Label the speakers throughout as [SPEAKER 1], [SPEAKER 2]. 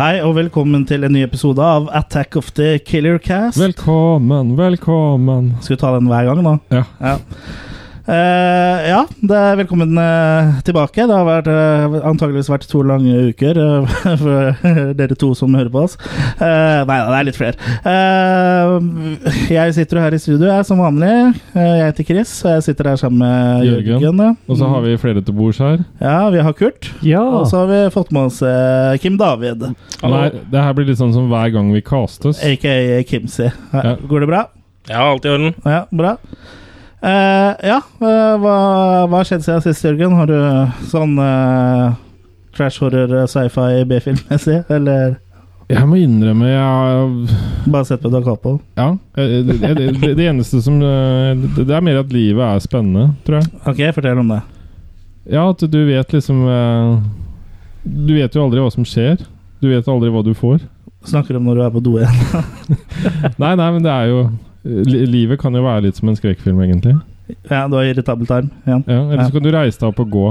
[SPEAKER 1] Hei og velkommen til en ny episode av Attack of the Killer Cast.
[SPEAKER 2] Velkommen, velkommen.
[SPEAKER 1] Skal vi ta den hver gang, da?
[SPEAKER 2] Ja.
[SPEAKER 1] Ja, Eh, ja det er velkommen eh, tilbake. Det har vært, eh, antageligvis vært to lange uker eh, for dere to som hører på oss. Eh, nei da, det er litt flere. Eh, jeg sitter jo her i studio, jeg, som vanlig. Eh, jeg heter Chris, og jeg sitter her sammen med
[SPEAKER 2] Jørgen.
[SPEAKER 1] Jørgen. ja.
[SPEAKER 2] Og så
[SPEAKER 1] Mm.
[SPEAKER 2] har vi flere til bords her.
[SPEAKER 1] Ja, vi har Kurt.
[SPEAKER 3] Ja.
[SPEAKER 1] Og så har vi fått med oss eh, Kim David,
[SPEAKER 2] Nei, det her blir litt sånn som hver gang vi castes.
[SPEAKER 1] aka Kimsi.
[SPEAKER 2] Ja.
[SPEAKER 1] Går det bra?
[SPEAKER 4] Ja, alt i orden.
[SPEAKER 1] Ja, bra. Eh, ja, eh, hva, hva har skjedd siden sist, Jørgen? Har du sånn eh, trash horror, eh, sci-fi, B-filmmessig? Eller
[SPEAKER 2] Jeg må innrømme jeg har-
[SPEAKER 1] bare sett på Dag Capo?
[SPEAKER 2] Ja. eh, Det, det, det, det eneste som eh, Det det er mer at livet er spennende, tror jeg.
[SPEAKER 1] Ok, fortell om det.
[SPEAKER 2] Ja, at du vet liksom eh, Du vet jo aldri hva som skjer. Du vet aldri hva du får.
[SPEAKER 1] Snakker om når du er på do igjen.
[SPEAKER 2] Nei, nei, men det er jo li- Livet kan jo være litt som en skrekkfilm, egentlig.
[SPEAKER 1] Ja, du har irritabel tarm igjen.
[SPEAKER 2] Ja, Eller så kan du reise deg opp og gå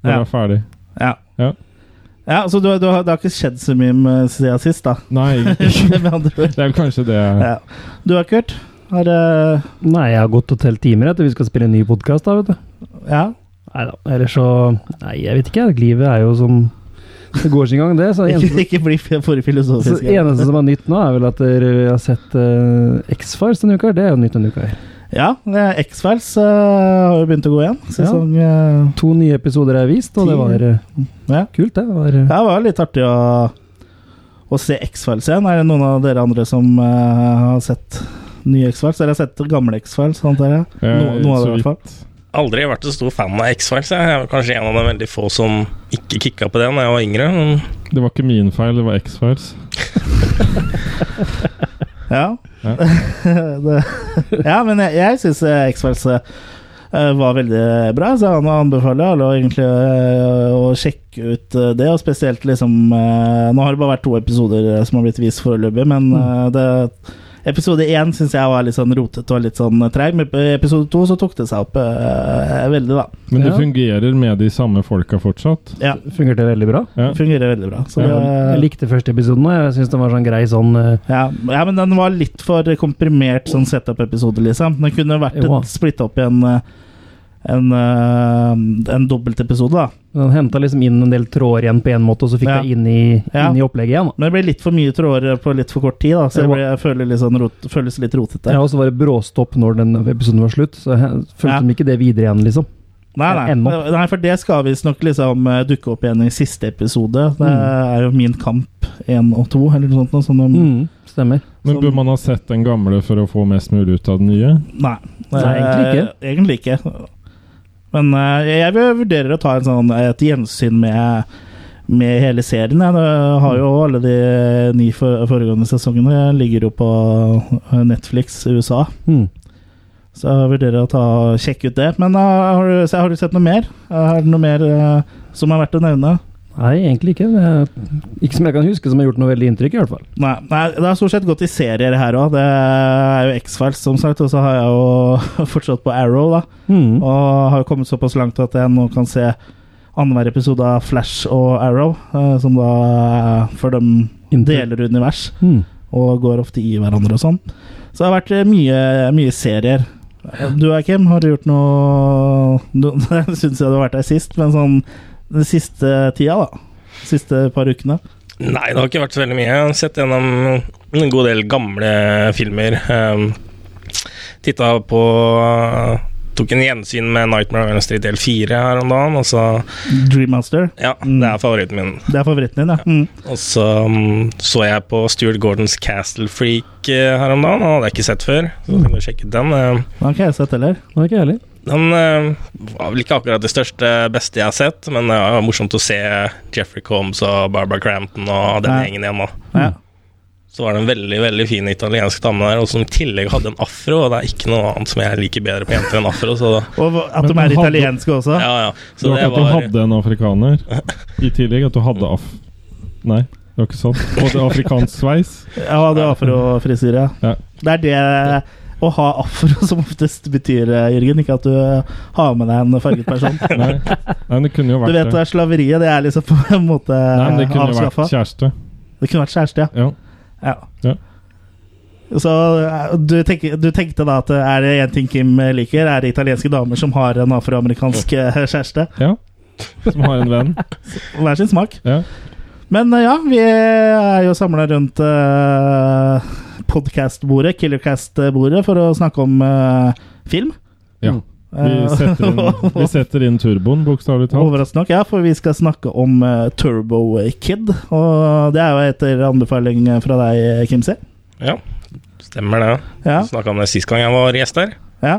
[SPEAKER 2] når
[SPEAKER 1] Ja.
[SPEAKER 2] du er ferdig.
[SPEAKER 1] Ja.
[SPEAKER 2] Ja.
[SPEAKER 1] Ja, Så du, du har, det har ikke skjedd så mye med siden sist, da?
[SPEAKER 2] Nei, egentlig.
[SPEAKER 1] Med andre ord.
[SPEAKER 2] det er vel kanskje det jeg
[SPEAKER 1] ja. Du da, Kurt? Har eh,
[SPEAKER 3] Nei, jeg har gått og telt timer etter vi skal spille en ny podkast, da, vet du.
[SPEAKER 1] Ja?
[SPEAKER 3] Nei da. Ellers så Nei, jeg vet ikke. jeg. Livet er jo som Det går sin gang, det. Så det
[SPEAKER 1] Ikke,
[SPEAKER 3] eneste,
[SPEAKER 1] ikke bli for
[SPEAKER 3] så
[SPEAKER 1] filosofisk.
[SPEAKER 3] det eneste som er nytt nå, er vel at dere har sett uh, X-Files denne uka. Det er jo nytt denne uka. her.
[SPEAKER 1] Ja, eh, X-Files eh, har jo begynt å gå igjen. Sesong eh,
[SPEAKER 3] To nye episoder er vist, og det var eh,
[SPEAKER 1] Ja.
[SPEAKER 3] kult, det. var... eh,
[SPEAKER 1] Ja, det var litt artig å, å se X-Files igjen. Er det noen av dere andre som eh, har sett nye X-Files? Dere har sett gamle X-Files, antar jeg?
[SPEAKER 2] Eh,
[SPEAKER 1] No, noe av det,
[SPEAKER 2] så
[SPEAKER 1] i hvert
[SPEAKER 2] vidt.
[SPEAKER 1] fall.
[SPEAKER 4] Aldri vært så stor fan av X-Files. Jeg Jeg var kanskje en av de veldig få som ikke kicka på det da jeg var yngre. Men
[SPEAKER 2] Det var ikke min feil, det var X-Files.
[SPEAKER 1] Ja.
[SPEAKER 2] Ja.
[SPEAKER 1] det, ja, men jeg, jeg syns X-Files eh, var veldig bra, så han anbefaler alle å egentlig eh, å sjekke ut eh, det. Og spesielt liksom eh, Nå har det bare vært to episoder eh, som har blitt vist foreløpig, men
[SPEAKER 2] Mm.
[SPEAKER 1] eh, det Episode én syns jeg var litt sånn rotete og litt sånn treig, men i episode to så tok det seg opp eh, veldig, da.
[SPEAKER 2] Men det
[SPEAKER 3] Ja.
[SPEAKER 2] fungerer med de samme folka fortsatt.
[SPEAKER 1] Ja,
[SPEAKER 3] Fungerte veldig bra.
[SPEAKER 2] Ja.
[SPEAKER 1] det fungerer veldig bra. Så
[SPEAKER 2] Ja.
[SPEAKER 3] Jeg
[SPEAKER 1] det,
[SPEAKER 3] likte første episoden, og jeg syns den var sånn grei sånn eh,
[SPEAKER 1] ja. ja, men den var litt for komprimert sånn setup-episode, liksom. Den kunne vært
[SPEAKER 3] Jo.
[SPEAKER 1] et- splitta opp i en eh, en, eh, en dobbeltepisode, da.
[SPEAKER 3] Den henta liksom inn en del tråder igjen på én måte, og så fikk
[SPEAKER 1] Ja.
[SPEAKER 3] jeg inn i,
[SPEAKER 1] Ja.
[SPEAKER 3] inn i opplegget igjen. da.
[SPEAKER 1] Men det ble litt for mye tråder på litt for kort tid, da, så det
[SPEAKER 3] Jo.
[SPEAKER 1] ble, jeg føler litt sånn rot, føles litt rotete.
[SPEAKER 3] Ja, og så var det bråstopp når den episoden var slutt, så jeg følte
[SPEAKER 1] Ja.
[SPEAKER 3] de ikke det videre igjen, liksom.
[SPEAKER 1] Nei, nei.
[SPEAKER 3] Ennå.
[SPEAKER 1] nei, for det skal visstnok liksom eh, dukke opp igjen i siste episode. Det
[SPEAKER 3] Mm.
[SPEAKER 1] er jo Min kamp 1 og 2, eller noe sånt. Noe, sånn, om-
[SPEAKER 3] Stemmer.
[SPEAKER 2] Men
[SPEAKER 1] Som-
[SPEAKER 2] bør man ha sett den gamle for å få mest mulig ut av den nye?
[SPEAKER 1] Nei,
[SPEAKER 3] Nei, egentlig
[SPEAKER 1] Eh, egentlig ikke. Men eh, jeg vil- vurderer å ta en sånn, et gjensyn med, med hele serien. Jeg Det har jo alle de ni for, foregående sesongene ligger jo på eh, Netflix USA.
[SPEAKER 3] Mm.
[SPEAKER 1] Så jeg vurderer å ta, sjekke ut det. Men eh, har, du, så har du sett noe mer? Er det noe mer eh, som er verdt å nevne?
[SPEAKER 3] Nei, egentlig ikke. Det er, ikke som jeg kan huske som har gjort noe veldig inntrykk, i hvert fall.
[SPEAKER 1] Nei, nei, det har stort sett gått i serier her òg. Det er jo X-Files, som sagt. Og så har jeg jo fortsatt på Arrow, da.
[SPEAKER 3] Mm.
[SPEAKER 1] Og har jo kommet såpass langt at jeg nå kan se annenhver episode av Flash og Arrow, eh, som da For dem deler univers
[SPEAKER 3] Mm.
[SPEAKER 1] og går ofte i hverandre og sånn. Så det har vært eh, mye, mye serier. Du og Kim, har du gjort noe du, Jeg syns jeg du har vært her sist, men sånn den siste tida, da. Siste par ukene.
[SPEAKER 4] nei, det har ikke vært så veldig mye. Jeg har sett gjennom en god del gamle filmer. Um, Titta på Tok en gjensyn med Nightmare on Elm Street del 4 her om dagen. Og så
[SPEAKER 1] Dreammaster.
[SPEAKER 4] Ja,
[SPEAKER 1] Mm.
[SPEAKER 4] det er favoritten min.
[SPEAKER 1] Det er favoritten din, ja. Mm.
[SPEAKER 4] Og så um, så jeg på Stuart Gordons Castle Freak eh, her om dagen. Den hadde jeg ikke sett før. Så jeg kunne sjekket den. Um,
[SPEAKER 1] Den har ikke jeg sett heller.
[SPEAKER 3] Det var ikke ærlig.
[SPEAKER 4] Den eh, var vel ikke akkurat det største beste jeg har sett, men det var morsomt å se Jeffrey Combs og Barbara Crampton og den
[SPEAKER 1] Ja.
[SPEAKER 4] gjengen igjen. da.
[SPEAKER 1] Ja.
[SPEAKER 2] Mm.
[SPEAKER 4] Så var det en veldig veldig fin italiensk dame der, og som i tillegg hadde en afro. Og det er ikke noe annet som jeg liker bedre på jenter enn afro. Så, da,
[SPEAKER 1] Og at de
[SPEAKER 2] Men
[SPEAKER 1] er
[SPEAKER 2] hadde-
[SPEAKER 1] italienske også.
[SPEAKER 4] ja, ja.
[SPEAKER 2] Så
[SPEAKER 4] så
[SPEAKER 2] det var ikke
[SPEAKER 4] det
[SPEAKER 2] at du
[SPEAKER 4] var
[SPEAKER 2] hadde en afrikaner i tillegg, at du hadde af... Nei, det var ikke sant. Du hadde afrikansk sveis.
[SPEAKER 1] Ja, det er afrofrisyre. Ja.
[SPEAKER 2] Ja.
[SPEAKER 1] Det er det å ha afro som oftest betyr, eh, Jørgen. Ikke at du har med deg en farget person.
[SPEAKER 2] Nei, Nei men det kunne jo
[SPEAKER 1] Du
[SPEAKER 2] vært
[SPEAKER 1] vet det
[SPEAKER 2] det.
[SPEAKER 1] er slaveriet, det er liksom på en måte
[SPEAKER 2] Nei, men det kunne jo vært
[SPEAKER 1] avskaffa.
[SPEAKER 2] kjæreste.
[SPEAKER 1] Det Det kunne vært kjæreste, ja.
[SPEAKER 2] Ja.
[SPEAKER 1] Ja.
[SPEAKER 2] Ja.
[SPEAKER 1] Så eh, du, tenker, du tenkte da at eh, er det én ting Kim liker, er det italienske damer som har en afroamerikansk eh, kjæreste.
[SPEAKER 2] ja. Som har en venn.
[SPEAKER 1] Hver sin smak.
[SPEAKER 2] Ja.
[SPEAKER 1] Men eh, ja, vi er jo samla rundt uh, podkast-bordet, Killercast-bordet, for å snakke om eh, film.
[SPEAKER 2] ja. Vi
[SPEAKER 1] Eh.
[SPEAKER 2] setter inn, vi setter inn turboen, bokstavelig talt.
[SPEAKER 1] Overraskende nok, ja, for vi skal snakke om eh, Turbo Kid. Og det er jo etter anbefaling fra deg, Kimsi.
[SPEAKER 4] Ja, stemmer det.
[SPEAKER 1] Ja,
[SPEAKER 4] Snakka om det sist gang jeg var gjest her.
[SPEAKER 1] ja.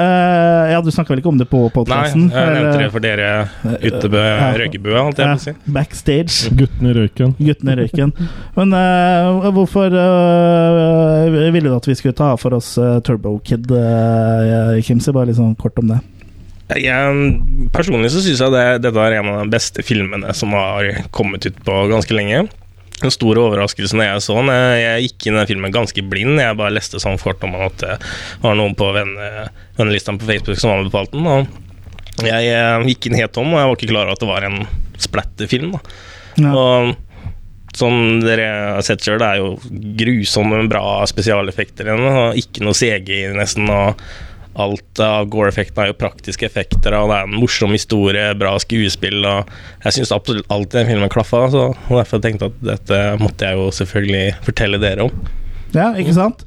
[SPEAKER 1] Eh, ja, du snakka vel ikke om det på
[SPEAKER 4] Nei, jeg
[SPEAKER 1] podkasten?
[SPEAKER 4] nevnte det for dere ute på
[SPEAKER 1] Ja.
[SPEAKER 4] røykebua, holdt jeg på å si.
[SPEAKER 1] Backstage.
[SPEAKER 2] Guttene i røyken.
[SPEAKER 1] Guttene i røyken. Men eh, hvorfor eh, ville du at vi skulle ta for oss eh, Turbo Kid, eh, Kimsi? Bare litt sånn kort om det.
[SPEAKER 4] Jeg, personlig så syns jeg det, dette er en av de beste filmene som har kommet ut på ganske lenge. Den store overraskelsen da jeg så den eh, Jeg gikk inn i den filmen ganske blind. Jeg bare leste sånn kort om at det var noen på venne, vennelistene på Facebook som anbefalte den. Og jeg eh, gikk inn helt tom, og jeg var ikke klar over at det var en splatterfilm. da.
[SPEAKER 1] Ja.
[SPEAKER 4] Og som dere har sett selv, det er jo grusomme bra spesialeffekter i den, og ikke noe CGI nesten. og Alt av Gore-effektene er jo praktiske effekter, og det er en morsom historie, bra skuespill. og Jeg syns absolutt alt i den filmen klaffa, så og derfor tenkte jeg at dette måtte jeg jo selvfølgelig fortelle dere om.
[SPEAKER 1] ja, ikke sant?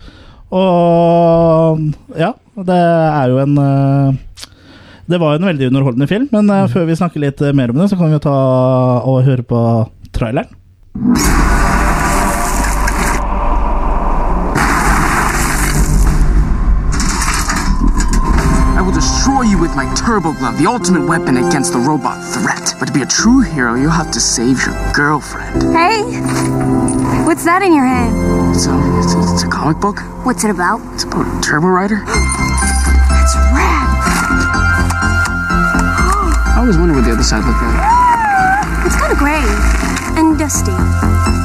[SPEAKER 1] Og ja, det er jo en eh, Det var jo en veldig underholdende film, men eh,
[SPEAKER 4] Mm.
[SPEAKER 1] før vi snakker litt eh, mer om det, så kan vi jo ta og høre på traileren.
[SPEAKER 5] I will destroy you with my turbo glove, the ultimate weapon against the robot threat. But to be a true hero, you'll have to save your girlfriend.
[SPEAKER 6] Hey! What's that in your hand?
[SPEAKER 5] It's a, it's a, it's a comic book.
[SPEAKER 6] What's it about?
[SPEAKER 5] It's about a turbo rider.
[SPEAKER 6] That's rad!
[SPEAKER 5] I always wonder what the other side looked like.
[SPEAKER 6] It's kind of gray and dusty.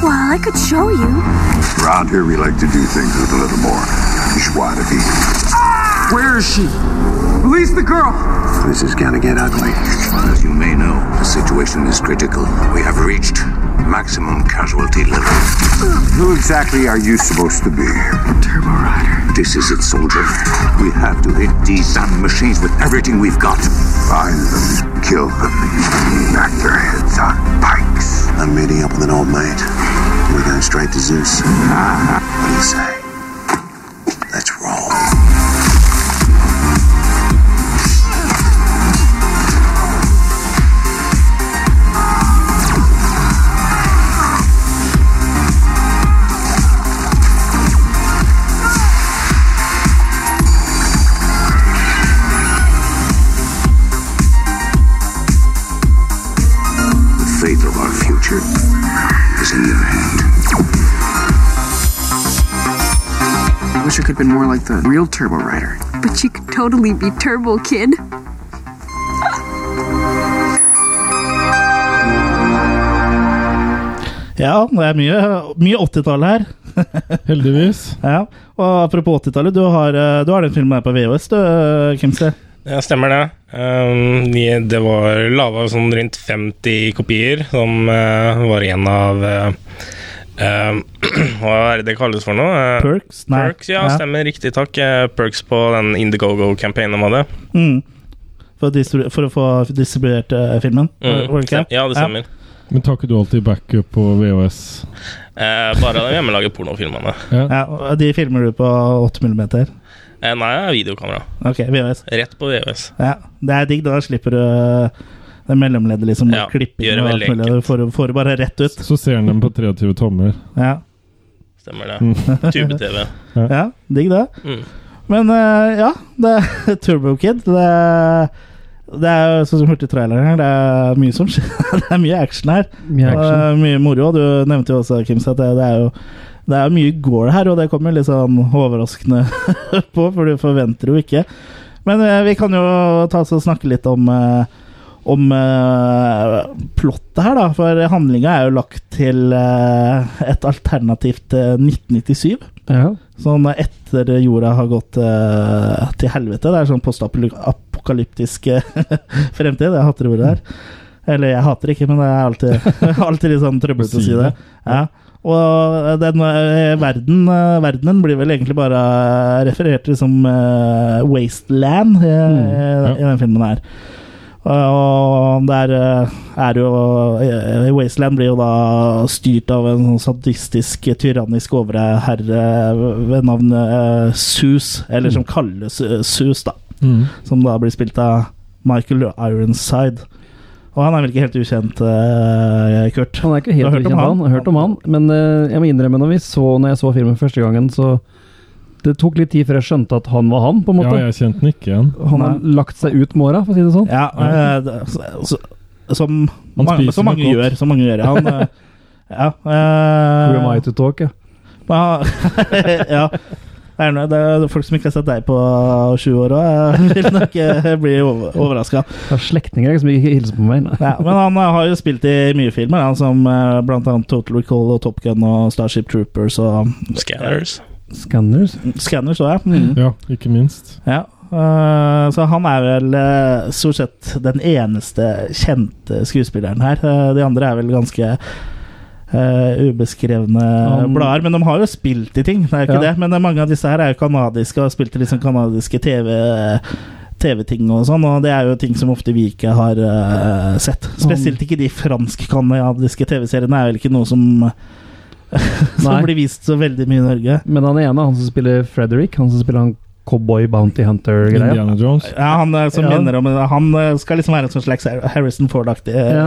[SPEAKER 6] Well, I could show you.
[SPEAKER 7] Around here, we like to do things with a little more schwadity.
[SPEAKER 5] Ah! Where is she? Release the girl!
[SPEAKER 7] This is gonna get ugly. As you may know, the situation is critical. We have reached maximum casualty level. Who exactly are you supposed to be? Turbo Rider. This is it, soldier. We have to hit these damn machines with everything we've got. Find them, kill them, knock their heads on pikes. I'm meeting up with an old mate. We're going straight to Zeus. What do you say? Let's roll. The fate of our future is in your hand.
[SPEAKER 5] I wish I could have been more like the real turbo rider.
[SPEAKER 6] But you could totally be Turbo Kid.
[SPEAKER 1] Ja, det er mye, mye 80-tall her.
[SPEAKER 2] Heldigvis.
[SPEAKER 1] Ja, og Apropos 80-tallet, du, har, eh, du har den filmen her på VHS, du, eh, Kimse.
[SPEAKER 4] Ja, stemmer det. Ehm, de- det var lava sånn rundt 50 kopier, som eh, var en av eh, ehm, Hva er det det kalles for noe? Eh,
[SPEAKER 1] Perks? Nei.
[SPEAKER 4] Perks, ja, stemmer. Riktig, takk. Eh, Perks på den Indiegogo-campaignen de hadde.
[SPEAKER 1] Mm. For, å distri- for å få distribuert eh, filmen? Var- var det ikke?
[SPEAKER 4] Stem- Mm. Ja, det stemmer.
[SPEAKER 2] Men tar ikke du alltid backup på VHS?
[SPEAKER 4] Eh, bare de hjemmelagde pornofilmene.
[SPEAKER 2] Ja.
[SPEAKER 1] Ja, og de filmer du på 8 mm.
[SPEAKER 4] Eh, nei, det er videokamera.
[SPEAKER 1] Ok, VHS.
[SPEAKER 4] Rett på VHS.
[SPEAKER 1] Ja, det er digg, da slipper du eh, det mellomleddet, liksom.
[SPEAKER 4] Ja, gjør det
[SPEAKER 1] klipping og alt
[SPEAKER 4] veldig
[SPEAKER 1] mulig. Du får, får det bare rett ut.
[SPEAKER 2] Så ser han dem på 23 tommer.
[SPEAKER 1] Ja,
[SPEAKER 4] Stemmer
[SPEAKER 1] Mm.
[SPEAKER 4] det. Tube-TV.
[SPEAKER 1] ja digg det.
[SPEAKER 4] Mm.
[SPEAKER 1] Men eh, ja, det er Turbo Kid. Det er, det er jo sånn som hørte i traileren her, det er mye som skjer. Det er mye action her.
[SPEAKER 3] Mye action.
[SPEAKER 1] Og mye moro. og Du nevnte jo også, Kims, at det, det er jo det er jo mye gore her, og det kommer litt sånn overraskende på, for du forventer jo ikke. Men eh, vi kan jo ta oss og snakke litt om eh, om eh, plottet her, da. For handlinga er jo lagt til eh, et alternativt eh, 1997.
[SPEAKER 3] Ja.
[SPEAKER 1] Sånn etter jorda har gått eh, til helvete. Det er sånn postapokalyptisk eh, fremtid. Jeg hater ordet der. Eller jeg hater det ikke, men det er alltid, alltid litt sånn trøblete å si det. Ja. Og den eh, verden, eh, verdenen blir vel egentlig bare referert til som eh, wasteland i,
[SPEAKER 2] ja.
[SPEAKER 1] i den filmen her. Og- Og der eh, er jo eh, Wasteland blir jo da styrt av en sånn sadistisk, tyrannisk overherre ved navn eh, Sus, eller som kalles eh, Sus, da. Som da blir spilt av Michael Ironside. Og han er vel ikke helt ukjent, eh, Kurt?
[SPEAKER 3] Han er ikke
[SPEAKER 1] Du har
[SPEAKER 3] helt
[SPEAKER 1] hørt om
[SPEAKER 3] ukjent,
[SPEAKER 1] han?
[SPEAKER 3] han. Jeg har hørt om han. Men eh, jeg må innrømme, når, vi så, når jeg så filmen første gangen, så det tok litt tid før jeg skjønte at han var han, på en
[SPEAKER 2] Ja,
[SPEAKER 3] måte.
[SPEAKER 2] jeg kjente den ikke igjen.
[SPEAKER 3] Han har lagt seg ut med åra, for å si det sånn.
[SPEAKER 1] Ja, eh, det- så- så- som,
[SPEAKER 2] Han
[SPEAKER 1] mange,
[SPEAKER 2] spiser
[SPEAKER 1] som mange
[SPEAKER 2] nok
[SPEAKER 1] gjør.
[SPEAKER 2] godt.
[SPEAKER 1] Som mange gjør. Han eh, Ja.
[SPEAKER 3] Who am
[SPEAKER 1] eh,
[SPEAKER 3] I to talk, ja.
[SPEAKER 1] Ja, ja. Det er, noe, det er folk som ikke har sett deg på sju år òg, vil nok eh, bli overraska.
[SPEAKER 3] Jeg har slektninger jeg, som ikke hilser på meg. Nei.
[SPEAKER 1] Ja, men han eh, har jo spilt i mye filmer, han som eh, blant annet Total Recall og Top Gun og Starship Troopers og eh,
[SPEAKER 4] Scanners.
[SPEAKER 3] Scanners.
[SPEAKER 1] Scanner, så jeg. Mm.
[SPEAKER 2] Ja, ikke minst.
[SPEAKER 1] Ja. eh, så han er vel eh, stort sett den eneste kjente skuespilleren her. Eh, de andre er vel ganske eh, ubeskrevne
[SPEAKER 3] Han-
[SPEAKER 1] blader, men de har jo spilt i ting. Det er jo ikke
[SPEAKER 3] Ja.
[SPEAKER 1] det, men eh, mange av disse her er jo kanadiske og har spilt i liksom kanadiske TV. TV-ting og sånn, og det er jo ting som ofte vi ikke har eh, sett. Spesielt ikke de fransk-kanadiske TV-seriene er vel ikke noe som, som
[SPEAKER 3] Nei.
[SPEAKER 1] blir vist så veldig mye i Norge.
[SPEAKER 3] Men han ene, han som spiller Frederick, han som spiller han cowboy bounty hunter-greia.
[SPEAKER 2] Indiana Jones.
[SPEAKER 1] Ja, han eh, som
[SPEAKER 3] Ja.
[SPEAKER 1] minner om Han eh, skal liksom være en sånn slags Harrison Ford-aktig eh,
[SPEAKER 3] Ja.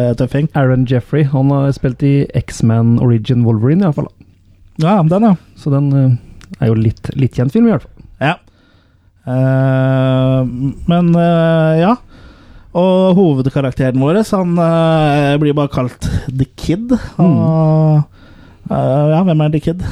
[SPEAKER 1] eh, tøffing.
[SPEAKER 3] Aaron Jeffrey, han har spilt i X-Man Origin Wolverine, i hvert fall.
[SPEAKER 1] Ja, den, ja.
[SPEAKER 3] Så den eh, er jo litt, litt kjent film, i hvert fall.
[SPEAKER 1] ja. Eh, men eh, ja. Og hovedkarakteren vår, han eh, blir bare kalt The Kid.
[SPEAKER 3] Mm.
[SPEAKER 1] Og, eh, ja, hvem er The Kid?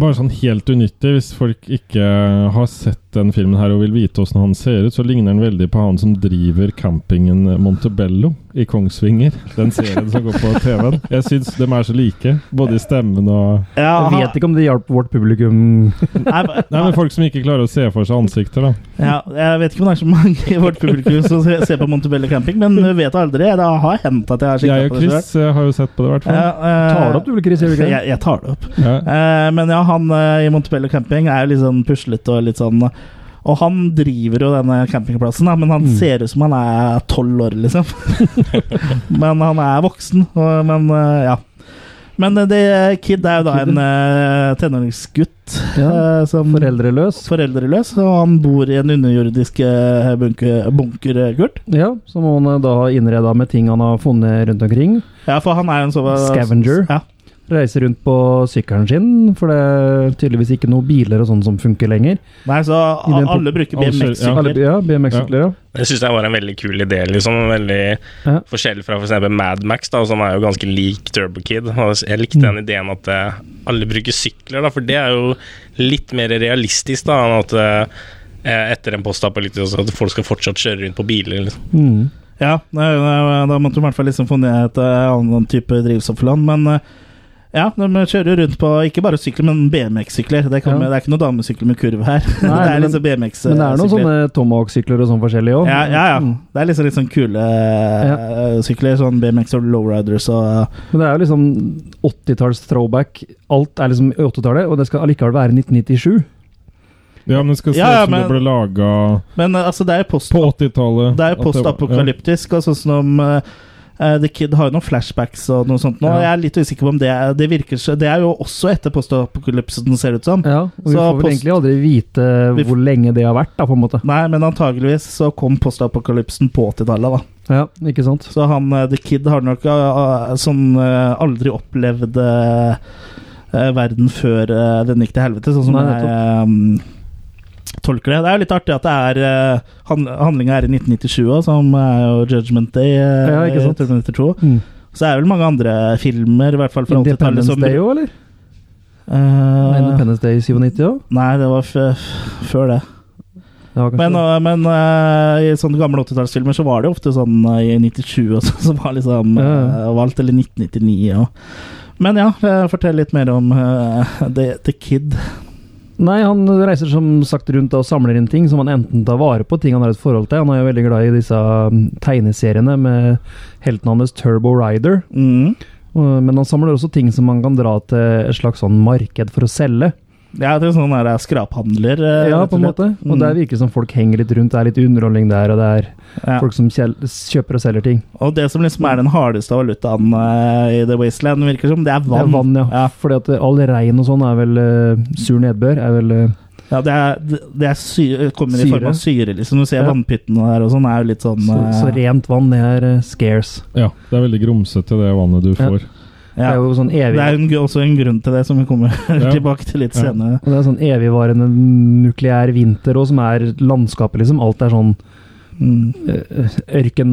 [SPEAKER 2] Bare sånn helt unyttig, hvis folk ikke har sett den filmen her og vil vite åssen han ser ut, så ligner han veldig på han som driver campingen Montebello i Kongsvinger. Den serien som går på TV-en. Jeg syns de er så like, både i stemmen og
[SPEAKER 1] Ja,
[SPEAKER 3] Jeg
[SPEAKER 1] han-
[SPEAKER 3] vet ikke om det hjalp vårt publikum.
[SPEAKER 1] Nei,
[SPEAKER 2] Nei, men folk som ikke klarer å se for seg ansikter, da.
[SPEAKER 1] ja, jeg vet ikke om det er så mange i vårt publikum som se- ser på Montebello camping, men du vet aldri. Det har hendt at jeg har
[SPEAKER 2] Jeg
[SPEAKER 1] sjekket
[SPEAKER 2] og
[SPEAKER 1] på det selv.
[SPEAKER 2] Chris eh, har jo sett på det, i hvert fall.
[SPEAKER 1] Ja, eh,
[SPEAKER 3] Tar det opp, du vel, Chris? gjør du ikke det?
[SPEAKER 1] Jeg, jeg tar det opp.
[SPEAKER 2] Ja.
[SPEAKER 1] Eh, men ja, han eh, i Montebello camping er jo litt sånn puslete og litt sånn Og han driver jo denne campingplassen, da, men han
[SPEAKER 3] Mm.
[SPEAKER 1] ser ut som han er tolv år, liksom. men han er voksen, og, men eh, ja. Men eh, det Kid er jo da en eh, tenåringsgutt
[SPEAKER 3] Ja,
[SPEAKER 1] eh, som
[SPEAKER 3] Foreldreløs.
[SPEAKER 1] foreldreløs, og han bor i en underjordisk eh, bunker, bunker eh, Kurt.
[SPEAKER 3] Ja, som han eh, da har innreda med ting han har funnet rundt omkring.
[SPEAKER 1] Ja, for han er jo en sånn
[SPEAKER 3] Scavenger.
[SPEAKER 1] Ja.
[SPEAKER 3] Reiser rundt på sykkelen sin, for det er tydeligvis ikke noen biler og sånn som funker lenger.
[SPEAKER 1] Nei, så
[SPEAKER 3] I den
[SPEAKER 1] alle bruker
[SPEAKER 2] alle kjører- ja.
[SPEAKER 1] BMX-sykler.
[SPEAKER 3] Alle- Ja, BMX-sykler, ja.
[SPEAKER 4] Jeg syns det var en veldig kul idé. liksom Veldig
[SPEAKER 3] Ja.
[SPEAKER 4] forskjell fra f.eks. Madmax, som er jo ganske lik Turbo Kid. Og Jeg likte
[SPEAKER 1] Mm.
[SPEAKER 4] den ideen at eh, alle bruker sykler, da, for det er jo litt mer realistisk da enn at eh, etter en postapokalypse at folk skal fortsatt kjøre rundt på biler. Liksom.
[SPEAKER 3] Mm.
[SPEAKER 1] Ja, nei, nei, da måtte de i hvert fall liksom funnet et eh, annen type drivstoffland. Men eh, ja, de kjører jo rundt på ikke bare sykler, men BMX-sykler. Det, kan-
[SPEAKER 3] Ja.
[SPEAKER 1] det er ikke noe damesykler med kurv her. det
[SPEAKER 3] Nei,
[SPEAKER 1] er
[SPEAKER 3] men-
[SPEAKER 1] liksom BMX-sykler.
[SPEAKER 3] Men det er noen sånne Mm. Tomahawk-sykler og sånn forskjellig òg.
[SPEAKER 1] ja, ja, ja. Det er liksom litt sånn kule eh, sykler. Sånn BMX og lowriders og eh,
[SPEAKER 3] Men det er jo liksom 80-talls throwback. Alt er liksom i 80-tallet, og det skal allikevel være 1997.
[SPEAKER 2] ja, men det skal se
[SPEAKER 1] Ja, ja,
[SPEAKER 2] ut som
[SPEAKER 1] men-
[SPEAKER 2] det ble laga
[SPEAKER 1] Men eh, altså, det er jo post-
[SPEAKER 2] på 80-tallet.
[SPEAKER 1] det er
[SPEAKER 2] At
[SPEAKER 1] jo postapokalyptisk, og sånn som eh, eh, The Kid har jo noen flashbacks og noe sånt nå.
[SPEAKER 3] Ja.
[SPEAKER 1] Jeg er litt usikker på om det er Det virker så- Det er jo også etter postapokalypsen, ser det ut som.
[SPEAKER 3] Ja, og vi
[SPEAKER 1] Så
[SPEAKER 3] får vel
[SPEAKER 1] post-
[SPEAKER 3] egentlig aldri vite
[SPEAKER 1] Vi f-
[SPEAKER 3] hvor lenge det har vært, da, på en måte.
[SPEAKER 1] Nei, men antageligvis så kom postapokalypsen på 80-tallet, da.
[SPEAKER 3] Ja, ikke sant?
[SPEAKER 1] Så han eh, The Kid har nok eh, sånn eh, aldri opplevd eh, eh, verden før eh, den gikk til helvete, sånn som
[SPEAKER 3] Nei,
[SPEAKER 1] jeg eh, tolker det. Det er jo litt artig at det er eh, han, Handlinga er i 1997 òg, som er jo Judgment Day. eh,
[SPEAKER 3] Ja, ikke sant?
[SPEAKER 1] i Terminator 2.
[SPEAKER 3] Mm.
[SPEAKER 1] Så er det vel mange andre filmer, i hvert fall fra 80-tallet,
[SPEAKER 3] Independence
[SPEAKER 1] som
[SPEAKER 3] Day òg, eller?
[SPEAKER 1] Eh,
[SPEAKER 3] Independence Day i 97 òg?
[SPEAKER 1] Nei, det var f før det.
[SPEAKER 3] Ja, kanskje.
[SPEAKER 1] Men, øh, men øh, i sånne gamle 80-tallsfilmer så var det jo ofte sånn øh, i 97 og sånn som var liksom
[SPEAKER 3] Ja,
[SPEAKER 1] øh, valgt, eller 1999 og Men ja, øh, fortell litt mer om øh, The, the Kid.
[SPEAKER 3] Nei, han reiser som sagt rundt og samler inn ting som han enten tar vare på, ting han har et forhold til. Han er jo um, veldig glad i disse mm, tegneseriene med helten hans Turbo Rider.
[SPEAKER 1] Mm.
[SPEAKER 3] Og- Men han samler også ting som man kan dra til et slags sånn marked for å selge.
[SPEAKER 1] Ja, det er sånn der skraphandler. eh,
[SPEAKER 3] Ja,
[SPEAKER 1] rett
[SPEAKER 3] på
[SPEAKER 1] og
[SPEAKER 3] en
[SPEAKER 1] slett.
[SPEAKER 3] måte. Og der
[SPEAKER 1] Mm.
[SPEAKER 3] virker det som folk henger litt rundt. Det er litt underholdning der, og det er
[SPEAKER 1] Ja.
[SPEAKER 3] folk som kjel- kjøper og selger ting.
[SPEAKER 1] Og det som liksom er den hardeste valutaen eh, i The Wasteland, virker som, det er
[SPEAKER 3] Det er
[SPEAKER 1] vann.
[SPEAKER 3] vann, ja. Fordi at eh, all regn og sånn er vel eh, Sur nedbør er vel eh,
[SPEAKER 1] Ja, det, er, det er syre, kommer i form av syre, liksom. Du ser
[SPEAKER 3] Ja.
[SPEAKER 1] vannpyttene der og sånn, er jo litt sånn
[SPEAKER 3] så,
[SPEAKER 1] eh,
[SPEAKER 3] så rent vann, det er eh, scarce.
[SPEAKER 2] Ja, det er veldig grumsete, det vannet du får.
[SPEAKER 3] Det
[SPEAKER 1] ja.
[SPEAKER 3] er jo sånn
[SPEAKER 1] Det er
[SPEAKER 3] evig
[SPEAKER 1] en, gr- også en grunn til det, som vi kommer tilbake til litt
[SPEAKER 2] Ja.
[SPEAKER 1] senere.
[SPEAKER 3] og det er sånn evigvarende nukleær vinter òg, som er landskapet, liksom. Alt er sånn eh,
[SPEAKER 1] Mm.
[SPEAKER 3] ørken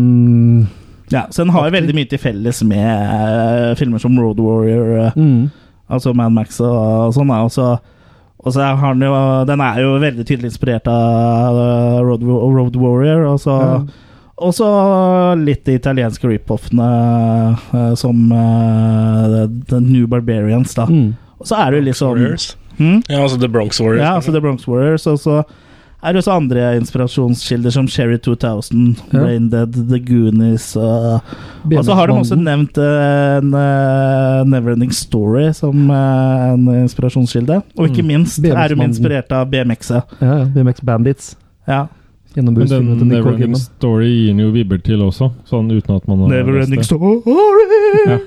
[SPEAKER 1] Ja, så den har jo veldig mye til felles med eh, filmer som Road Warrior, eh,
[SPEAKER 3] mm.
[SPEAKER 1] altså Mad Max og, og sånn. da. Og så, og så har den jo Den er jo veldig tydelig inspirert av eh, Road, Wa- Road Warrior, og så
[SPEAKER 3] Ja.
[SPEAKER 1] Og så litt de italienske rip-offene eh, som eh, The- The New Barbarians, da.
[SPEAKER 3] Mm.
[SPEAKER 1] Og så er det jo litt sånn
[SPEAKER 4] Warriors.
[SPEAKER 1] Hm?
[SPEAKER 4] Ja, altså The Bronx Warriors.
[SPEAKER 1] Ja, altså The Bronx Warriors, og så er det også andre inspirasjonskilder som Sherry 2000,
[SPEAKER 3] Ja.
[SPEAKER 1] Brain Dead, The Goonies og og så har de også nevnt eh, en eh, Neverending Story som eh, en inspirasjonskilde. Og ikke
[SPEAKER 2] Mm.
[SPEAKER 1] minst er de
[SPEAKER 3] BMX-mannen.
[SPEAKER 1] inspirert av BMX-et.
[SPEAKER 3] ja, ja, BMX Bandits.
[SPEAKER 1] Ja.
[SPEAKER 2] Men den
[SPEAKER 3] Gjennombruddsfilmen til Nicole
[SPEAKER 2] Neverending
[SPEAKER 3] Kidman.
[SPEAKER 2] Story gir den jo vibber til også, sånn uten at man har lest
[SPEAKER 1] Neverending
[SPEAKER 2] det.
[SPEAKER 1] Story!
[SPEAKER 2] Ja.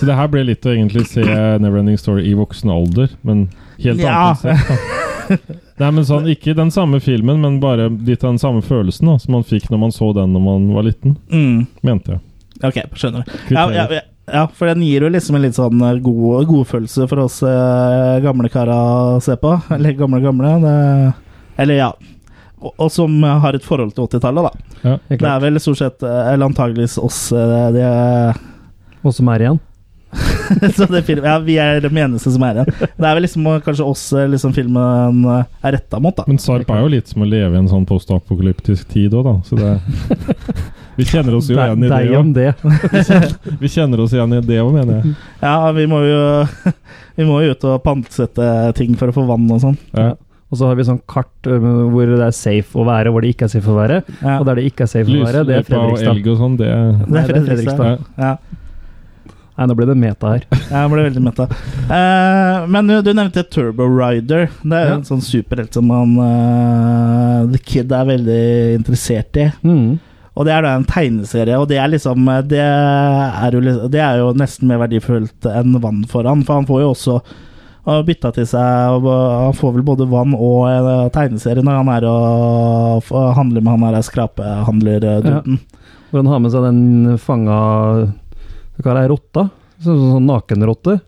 [SPEAKER 2] Så det her ble litt å egentlig se Neverending Story i voksen alder, men helt
[SPEAKER 1] Ja.
[SPEAKER 2] annet konsept. da. Nei, men sånn, Ikke den samme filmen, men bare litt av den samme følelsen da, som man fikk når man så den når man var liten,
[SPEAKER 1] Mm.
[SPEAKER 2] mente jeg.
[SPEAKER 1] Ok, skjønner. Ja,
[SPEAKER 2] Kvitterer.
[SPEAKER 1] ja, ja, ja, for den gir jo liksom en litt sånn eh, god godfølelse for oss eh, gamle kara å se på. Eller gamle, gamle. Det, eller ja. Og, og som har et forhold til 80-tallet, da.
[SPEAKER 2] Ja.
[SPEAKER 1] Det er vel stort sett, eh, eller antageligvis oss, eh, det,
[SPEAKER 3] Og som er igjen.
[SPEAKER 1] så det film, ja, vi er de eneste som er igjen. Det er vel liksom eh, kanskje oss eh, liksom filmen eh, er retta mot, da.
[SPEAKER 2] Men Sarp er jo litt som å leve i en sånn postapokalyptisk tid òg, da. Så det Vi kjenner oss jo
[SPEAKER 3] Deg
[SPEAKER 2] igjen i det
[SPEAKER 3] deg om
[SPEAKER 2] òg.
[SPEAKER 3] det.
[SPEAKER 2] Vi kjenner oss igjen i det òg, mener jeg.
[SPEAKER 1] Ja, vi må jo Vi må jo ut og pantsette ting for å få vann og sånn.
[SPEAKER 2] Ja.
[SPEAKER 3] Og så har vi sånn kart ø, hvor det er safe å være, hvor det ikke er safe å være.
[SPEAKER 1] Ja.
[SPEAKER 3] Og der det ikke er safe å være, det er
[SPEAKER 2] Lysløypa og
[SPEAKER 3] Fredrikstad.
[SPEAKER 2] elg og sånn, det er
[SPEAKER 1] Det
[SPEAKER 3] Nei,
[SPEAKER 1] er Fredrikstad.
[SPEAKER 2] ja.
[SPEAKER 1] Ja.
[SPEAKER 3] Nei, nå ble det meta her.
[SPEAKER 1] Jeg ble veldig mett av. Eh, men du, du nevnte Turbo Rider. Det er jo
[SPEAKER 3] Ja.
[SPEAKER 1] en sånn superhelt som han eh, The Kid er veldig interessert i.
[SPEAKER 3] Mm.
[SPEAKER 1] Og det er da en tegneserie, og det er liksom eh, Det er jo, li- det er jo nesten mer verdifullt enn vann for han, for han får jo også uh, bytta til seg og eh, Han får vel både vann og eh, tegneserie når han er og f- handler med han her eh, skrapehandlerduten.
[SPEAKER 3] Hvor han har med seg den fanga Hva kaller jeg rotta? Sånn, sånn, sånn nakenrotte.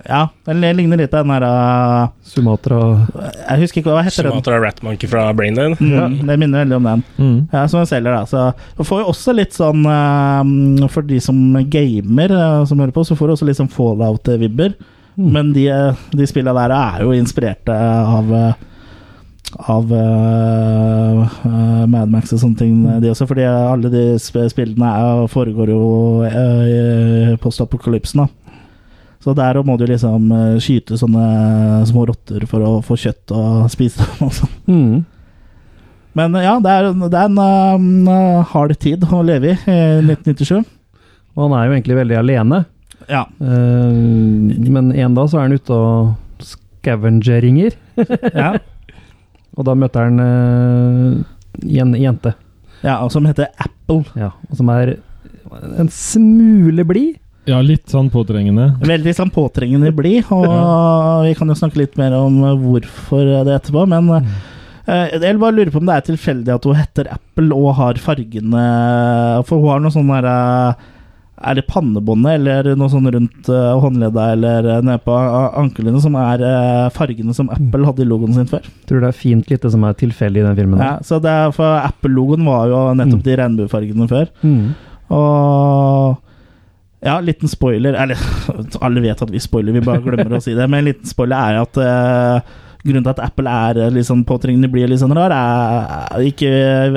[SPEAKER 1] Ja. den ligner litt på den her eh,
[SPEAKER 3] Sumatra
[SPEAKER 1] Jeg husker ikke hva heter den.
[SPEAKER 4] Sumatra Rat Monkey fra Braindead.
[SPEAKER 1] Mm, det minner veldig om den.
[SPEAKER 2] Mm.
[SPEAKER 1] Ja, som jeg selger, da. Så du får jo også litt sånn eh, For de som gamer, eh, som hører på, så får du også litt sånn fallout-vibber. Men de, eh, de spilla der er jo inspirerte av eh, av eh, eh, Mad Max og sånne ting, eh, de også. Fordi alle de sp spillene er, foregår jo eh, i postapokalypsen, da. Så der må du liksom eh, skyte sånne eh, små rotter for å få kjøtt og spise dem og sånn.
[SPEAKER 3] mm.
[SPEAKER 1] Men eh, ja, det er, det er en um, hard tid å leve i, eh, 1997.
[SPEAKER 3] Og han er jo egentlig veldig alene.
[SPEAKER 1] Ja.
[SPEAKER 3] Eh, men en dag så er han ute og scavengeringer,
[SPEAKER 1] ja.
[SPEAKER 3] og da møter han eh, en jente.
[SPEAKER 1] ja og som heter Apple.
[SPEAKER 3] Ja, og som er en smule blid.
[SPEAKER 2] ja, litt sånn påtrengende.
[SPEAKER 1] Veldig sånn påtrengende blid, og vi kan jo snakke litt mer om eh, hvorfor det etterpå, men eh, jeg bare lurer på om det er tilfeldig at hun heter Apple og har fargene For hun har noe sånn der eh, Er det pannebåndet eller noe sånn rundt eh, håndledda eller eh, nede på a- anklene som er eh, fargene som Apple hadde i logoen sin før?
[SPEAKER 3] Tror det er fint lite som er tilfeldig i den
[SPEAKER 2] Mm.
[SPEAKER 3] filmen.
[SPEAKER 1] Ja,
[SPEAKER 3] her.
[SPEAKER 1] så det er, for Apple-logoen var jo nettopp
[SPEAKER 3] Mm.
[SPEAKER 1] de regnbuefargene før.
[SPEAKER 3] Mm.
[SPEAKER 1] Og ja, liten spoiler Eller alle vet at vi spoiler, vi bare glemmer å si det. Men en liten spoiler er at eh, grunnen til at Apple er eh, litt sånn påtrengende, blir litt sånn rar, er, ikke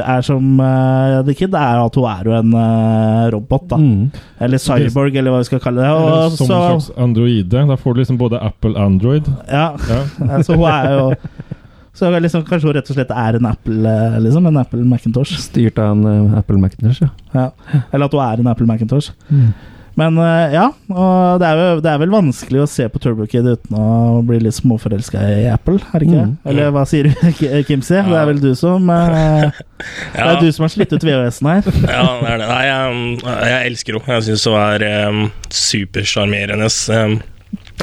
[SPEAKER 1] er som eh, The Kid, er at hun er jo en eh, robot, da.
[SPEAKER 3] Mm.
[SPEAKER 1] Eller cyborg, eller hva vi skal kalle det.
[SPEAKER 2] Eller
[SPEAKER 1] Og,
[SPEAKER 2] Eh, Som en slags
[SPEAKER 1] så,
[SPEAKER 2] androide. Da får du liksom både Apple og Android.
[SPEAKER 1] ja,
[SPEAKER 2] Ja.
[SPEAKER 1] så hun er jo så liksom, Kanskje hun rett og slett er en Apple, eh, liksom. En Apple Macintosh.
[SPEAKER 3] Styrt av en eh, Apple Macintosh, ja.
[SPEAKER 1] Ja. Eller at hun er en Apple Macintosh. Men eh, ja, og det er, jo, det er vel vanskelig å se på Turbo Kid uten å bli litt småforelska i Apple, er det ikke?
[SPEAKER 3] Mm.
[SPEAKER 1] det? Eller hva sier du, K- Kimsi? Det er vel du som eh, Det
[SPEAKER 4] Ja.
[SPEAKER 1] er du som har slitt ut VHS-en her.
[SPEAKER 4] Ja, det er det. Nei, jeg, jeg elsker henne. Jeg syns hun er um, supersjarmerende. Um,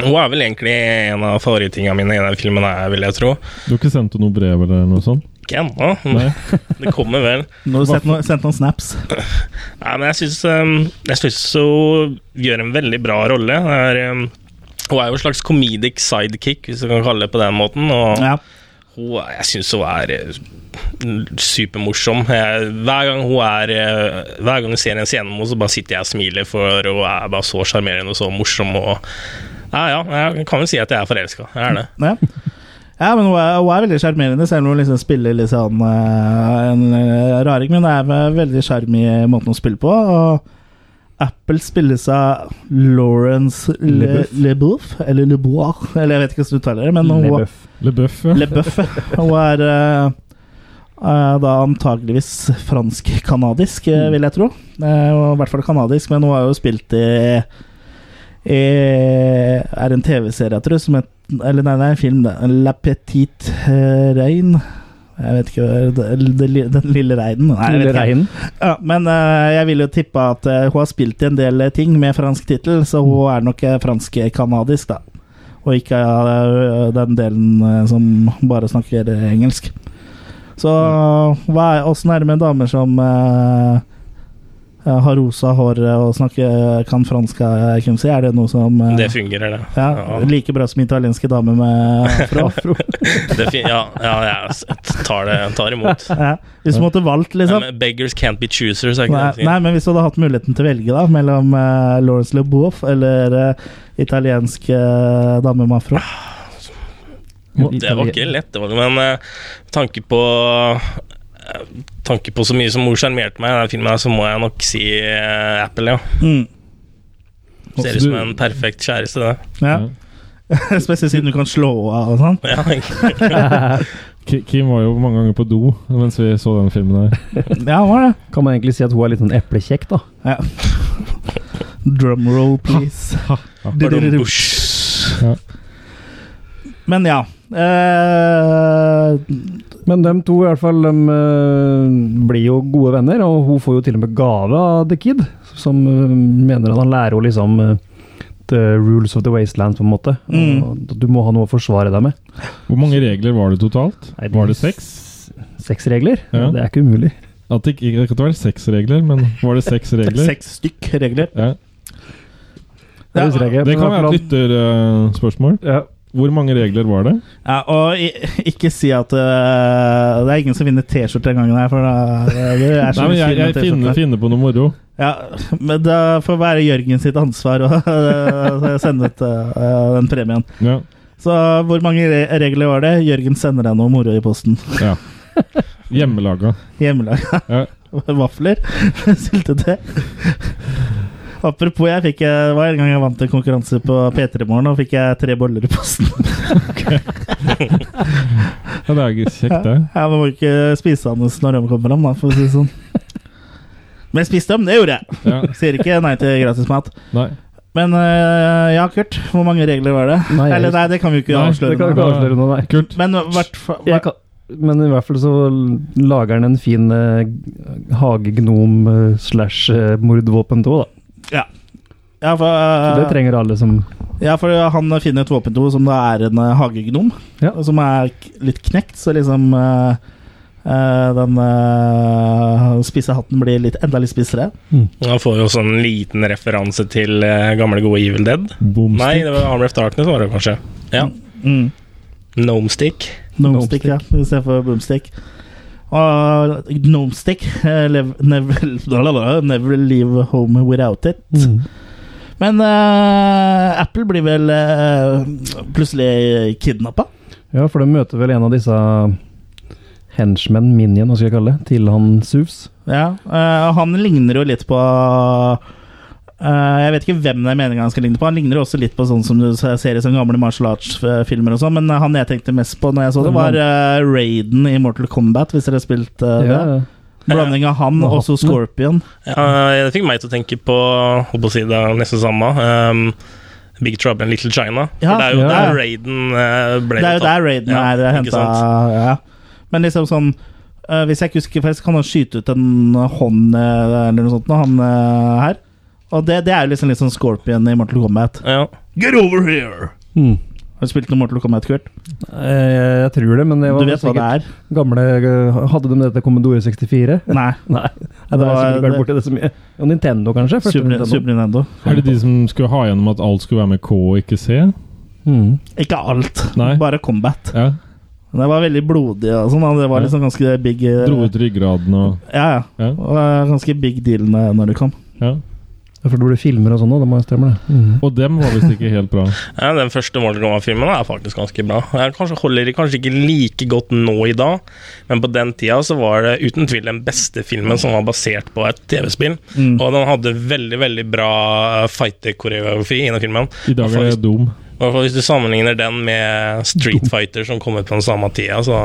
[SPEAKER 4] hun er vel egentlig en av favorittingene mine i den filmen, her, vil jeg tro.
[SPEAKER 2] Du har ikke sendt henne noe brev eller noe sånt?
[SPEAKER 4] Ikke ennå.
[SPEAKER 2] Nei?
[SPEAKER 4] Det kommer vel.
[SPEAKER 1] Nå har du sendt, noen- sendt noen snaps.
[SPEAKER 4] Nei, men jeg syns um, jeg synes hun gjør en veldig bra rolle. Det Er, um, hun er jo en slags comedic sidekick, hvis du kan kalle det på den måten. Og
[SPEAKER 1] Ja.
[SPEAKER 4] hun, er- jeg syns hun er eh, supermorsom. Jeg, hver gang hun er eh, Hver gang du ser en scene med henne, så bare sitter jeg og smiler, for hun er bare så sjarmerende og så morsom. Og ja, ja, jeg kan vel si at jeg er forelska. Jeg er det.
[SPEAKER 1] Ja. Ja, men hun er, hun er veldig sjarmerende, selv om hun liksom spiller litt sånn eh, en eh, raring. Men det er vel veldig sjarm i måten hun spiller på. Og Apple spilles av Lawrence Le-
[SPEAKER 3] Leboeuf.
[SPEAKER 1] LeBouf, eller LeBois, eller jeg vet ikke hvordan du uttaler det. Men hun,
[SPEAKER 3] Lebeuf.
[SPEAKER 2] LeBeuf, ja.
[SPEAKER 1] LeBeuf. Hun er eh, eh, da antageligvis fransk-kanadisk, eh,
[SPEAKER 3] Mm.
[SPEAKER 1] vil jeg tro. Eh, og I hvert fall kanadisk, men hun har jo spilt i, i Er en TV-serie, jeg tror, som het Eller nei, det er en film, det. La Petite eh, Rein. Jeg vet ikke hva- det- det li- Den lille reinen. Nei, jeg vet
[SPEAKER 3] Lille
[SPEAKER 1] ikke.
[SPEAKER 3] Reinen.
[SPEAKER 1] Ja, men eh, jeg vil jo tippe at eh, hun har spilt i en del eh, ting med fransk tittel, så hun er nok eh, fransk-kanadisk, da. Og ikke eh, den delen eh, som bare snakker eh, engelsk. Så hva er, åssen er det med damer som eh, eh, har rosa hår og snakker kan fransk, eh, kan du si? Er det noe som eh,
[SPEAKER 4] Det fungerer, det.
[SPEAKER 1] ja, Like bra som italienske damer med afro?
[SPEAKER 4] det fin ja, ja, jeg s- tar det tar imot.
[SPEAKER 1] ja. Hvis du måtte valgt,
[SPEAKER 4] Ja,
[SPEAKER 1] liksom?
[SPEAKER 4] men beggars can't be choosers, er ikke det?
[SPEAKER 1] Nei, nei, men hvis du hadde hatt muligheten til å velge da mellom uh, Lawrence Leboeuf eller eh, italiensk eh, dame med afro
[SPEAKER 4] Det var ikke lett, det var det, men eh, med tanke på eh, tanke på så mye som mor sjarmerte meg i den filmen, her, så må jeg nok si eh, Apple, ja.
[SPEAKER 1] mm.
[SPEAKER 4] Ser ut som en perfekt kjæreste, det.
[SPEAKER 1] ja.
[SPEAKER 2] Ja.
[SPEAKER 1] Spesielt siden du kan slå av og sånn.
[SPEAKER 4] Ja,
[SPEAKER 2] Ki- Kim var jo mange ganger på do mens vi så den filmen her.
[SPEAKER 1] Ja, var det.
[SPEAKER 3] Kan man egentlig si at hun er litt sånn eplekjekk, da?
[SPEAKER 1] Ja. Drum roll, please.
[SPEAKER 4] Baron
[SPEAKER 1] Du-du-du-du.
[SPEAKER 4] Bush.
[SPEAKER 1] Men ja. eh,
[SPEAKER 3] Men de to i hvert fall de, eh, blir jo gode venner, og hun får jo til og med gave av The Kid, som eh, mener at han lærer henne liksom eh, The rules of the wasteland, på en måte.
[SPEAKER 1] Mm.
[SPEAKER 3] Og Du må ha noe å forsvare deg med.
[SPEAKER 2] Hvor mange regler var det totalt?
[SPEAKER 3] Nei,
[SPEAKER 2] Var det seks?
[SPEAKER 3] Seks regler?
[SPEAKER 2] Ja.
[SPEAKER 3] Det er ikke umulig.
[SPEAKER 2] At det ikke det kan ikke være seks regler, men var det seks regler?
[SPEAKER 1] seks stykk regler.
[SPEAKER 2] Ja.
[SPEAKER 1] Ja,
[SPEAKER 3] Det husker jeg ikke.
[SPEAKER 2] Det
[SPEAKER 3] men
[SPEAKER 2] kan
[SPEAKER 3] i hvert
[SPEAKER 2] være
[SPEAKER 3] fall
[SPEAKER 2] et lytterspørsmål.
[SPEAKER 3] han- ja.
[SPEAKER 2] Hvor mange regler var det?
[SPEAKER 1] Ja, og i, ikke si at eh, det er ingen som vinner T-skjorte den gangen her, for da det er så
[SPEAKER 2] Nei, men
[SPEAKER 1] mye film om
[SPEAKER 2] Jeg, jeg
[SPEAKER 1] T-skjorte.
[SPEAKER 2] finner, finner på noe moro.
[SPEAKER 1] Ja, men det får være Jørgen sitt ansvar å øh, sende ut øh, den premien.
[SPEAKER 2] Ja.
[SPEAKER 1] Så hvor mange re regler var det? Jørgen sender deg noe moro i posten.
[SPEAKER 2] ja. Hjemmelaga.
[SPEAKER 1] Hjemmelaga
[SPEAKER 2] Ja.
[SPEAKER 1] vafler. Syltetøy. Apropos, jeg fikk, eh, det var en gang jeg vant en konkurranse på P3 Morgen, og fikk jeg tre boller i posten.
[SPEAKER 2] ja, det er kjekt, det.
[SPEAKER 1] Jeg må ikke spise hans når de kommer ham, da, for å si det sånn. Men jeg spiste dem, det gjorde jeg!
[SPEAKER 2] Ja.
[SPEAKER 1] Sier ikke nei til gratis mat.
[SPEAKER 2] Nei.
[SPEAKER 1] Men øh, ja, Kurt, hvor mange regler var det?
[SPEAKER 3] Nei, jeg
[SPEAKER 1] Eller nei, det kan vi jo ikke
[SPEAKER 2] Nei,
[SPEAKER 1] avsløre.
[SPEAKER 3] Det kan
[SPEAKER 1] nå.
[SPEAKER 3] vi ikke avsløre noe, nei.
[SPEAKER 2] Kult.
[SPEAKER 1] Men hvert fall
[SPEAKER 3] Jeg kan, men i hvert fall så lager han en fin eh, hagegnom eh, slash eh, mordvåpen til henne, da.
[SPEAKER 1] ja, for,
[SPEAKER 3] Så
[SPEAKER 1] eh,
[SPEAKER 3] det trenger alle som
[SPEAKER 1] ja, for eh, han finner et våpen til henne som da er en eh, hagegnom.
[SPEAKER 3] Ja.
[SPEAKER 1] og Som er k- litt knekt, så liksom eh, eh, den eh, spisse hatten blir litt, enda litt spissere.
[SPEAKER 4] Da får vi også en liten referanse til eh, gamle, gode Evil Dead. Nei,
[SPEAKER 2] Bomstick.
[SPEAKER 4] det var Armor of Darkness, var det kanskje. Ja.
[SPEAKER 1] Mm.
[SPEAKER 4] Gnomestick.
[SPEAKER 1] Gnomestick, ja, i stedet for boomstick. Og Gnomestick eh, lev, never, never leave home without it.
[SPEAKER 3] Mm.
[SPEAKER 1] Men eh, Apple blir vel eh, plutselig kidnappa.
[SPEAKER 3] Ja, for de møter vel en av disse henchmenn, minion, hva skal jeg kalle det, til han Suvs.
[SPEAKER 1] Ja, øh, han ligner jo litt på øh, Jeg vet ikke hvem det er meningen han skal ligne på. Han ligner jo også litt på sånn som du ser i sånne gamle martial arts-filmer og sånn, men eh, han jeg tenkte mest på når jeg så det, var øh, Raiden i Mortal Kombat, hvis dere har spilt øh, det. Blanding av han og også Scorpion.
[SPEAKER 4] Ja, eh, det fikk meg til å tenke på, holdt på å si det er nesten samme, ehm, Big Trouble in Little China.
[SPEAKER 1] Ja,
[SPEAKER 4] For det er jo
[SPEAKER 1] ja.
[SPEAKER 4] der Raiden eh, ble
[SPEAKER 1] Det er jo
[SPEAKER 4] tatt.
[SPEAKER 1] der Raiden
[SPEAKER 4] Ja,
[SPEAKER 1] er
[SPEAKER 4] ikke
[SPEAKER 1] henta.
[SPEAKER 4] sant?
[SPEAKER 1] Ja. Men liksom sånn eh, Hvis jeg ikke husker feil, så kan han skyte ut en hånd eh, eller noe sånt, nå, han eh, her. Og det, det er jo liksom litt sånn Scorpion i Mortal Kombat.
[SPEAKER 4] Ja.
[SPEAKER 1] Get over here!
[SPEAKER 3] Mm.
[SPEAKER 1] Har du spilt noe Mortal Kombat, Kurt?
[SPEAKER 3] Jeg, Eh, jeg tror det, men det var
[SPEAKER 1] Du vet hva det er?
[SPEAKER 3] gamle eh, Hadde de dette Commodore 64?
[SPEAKER 1] Nei.
[SPEAKER 3] Nei, det har jeg sikkert
[SPEAKER 1] Det-
[SPEAKER 3] vært borti det så mye. Og Nintendo, kanskje? Første
[SPEAKER 1] Super,
[SPEAKER 3] Nintendo.
[SPEAKER 1] Super Nintendo.
[SPEAKER 2] Er det de som skulle ha gjennom at alt skulle være med K og ikke C?
[SPEAKER 3] Mm.
[SPEAKER 1] Ikke alt,
[SPEAKER 2] Nei.
[SPEAKER 1] bare combat.
[SPEAKER 2] Ja.
[SPEAKER 1] Det var veldig blodig og sånn. da. Det var
[SPEAKER 2] Ja.
[SPEAKER 1] liksom ganske big eh,
[SPEAKER 2] Dro ut ryggraden og
[SPEAKER 1] Ja, ja.
[SPEAKER 2] Ja.
[SPEAKER 1] Og, eh, ganske big deal når når det kom.
[SPEAKER 2] ja.
[SPEAKER 3] For det blir filmer og sånn òg, det må jeg stemme det.
[SPEAKER 2] Og dem var visst ikke helt bra.
[SPEAKER 4] Ja, den første Mortal Kombat-filmen er faktisk ganske bra. Jeg kanskje holder kanskje ikke like godt nå i dag, men på den tida så var det uten tvil den beste filmen som var basert på et TV-spill.
[SPEAKER 1] Mm.
[SPEAKER 4] Og den hadde veldig veldig bra fighter-koreografi i den filmen.
[SPEAKER 2] I dag er det dum.
[SPEAKER 4] I hvert fall hvis du sammenligner den med Street Fighter som kom ut på den samme tida, så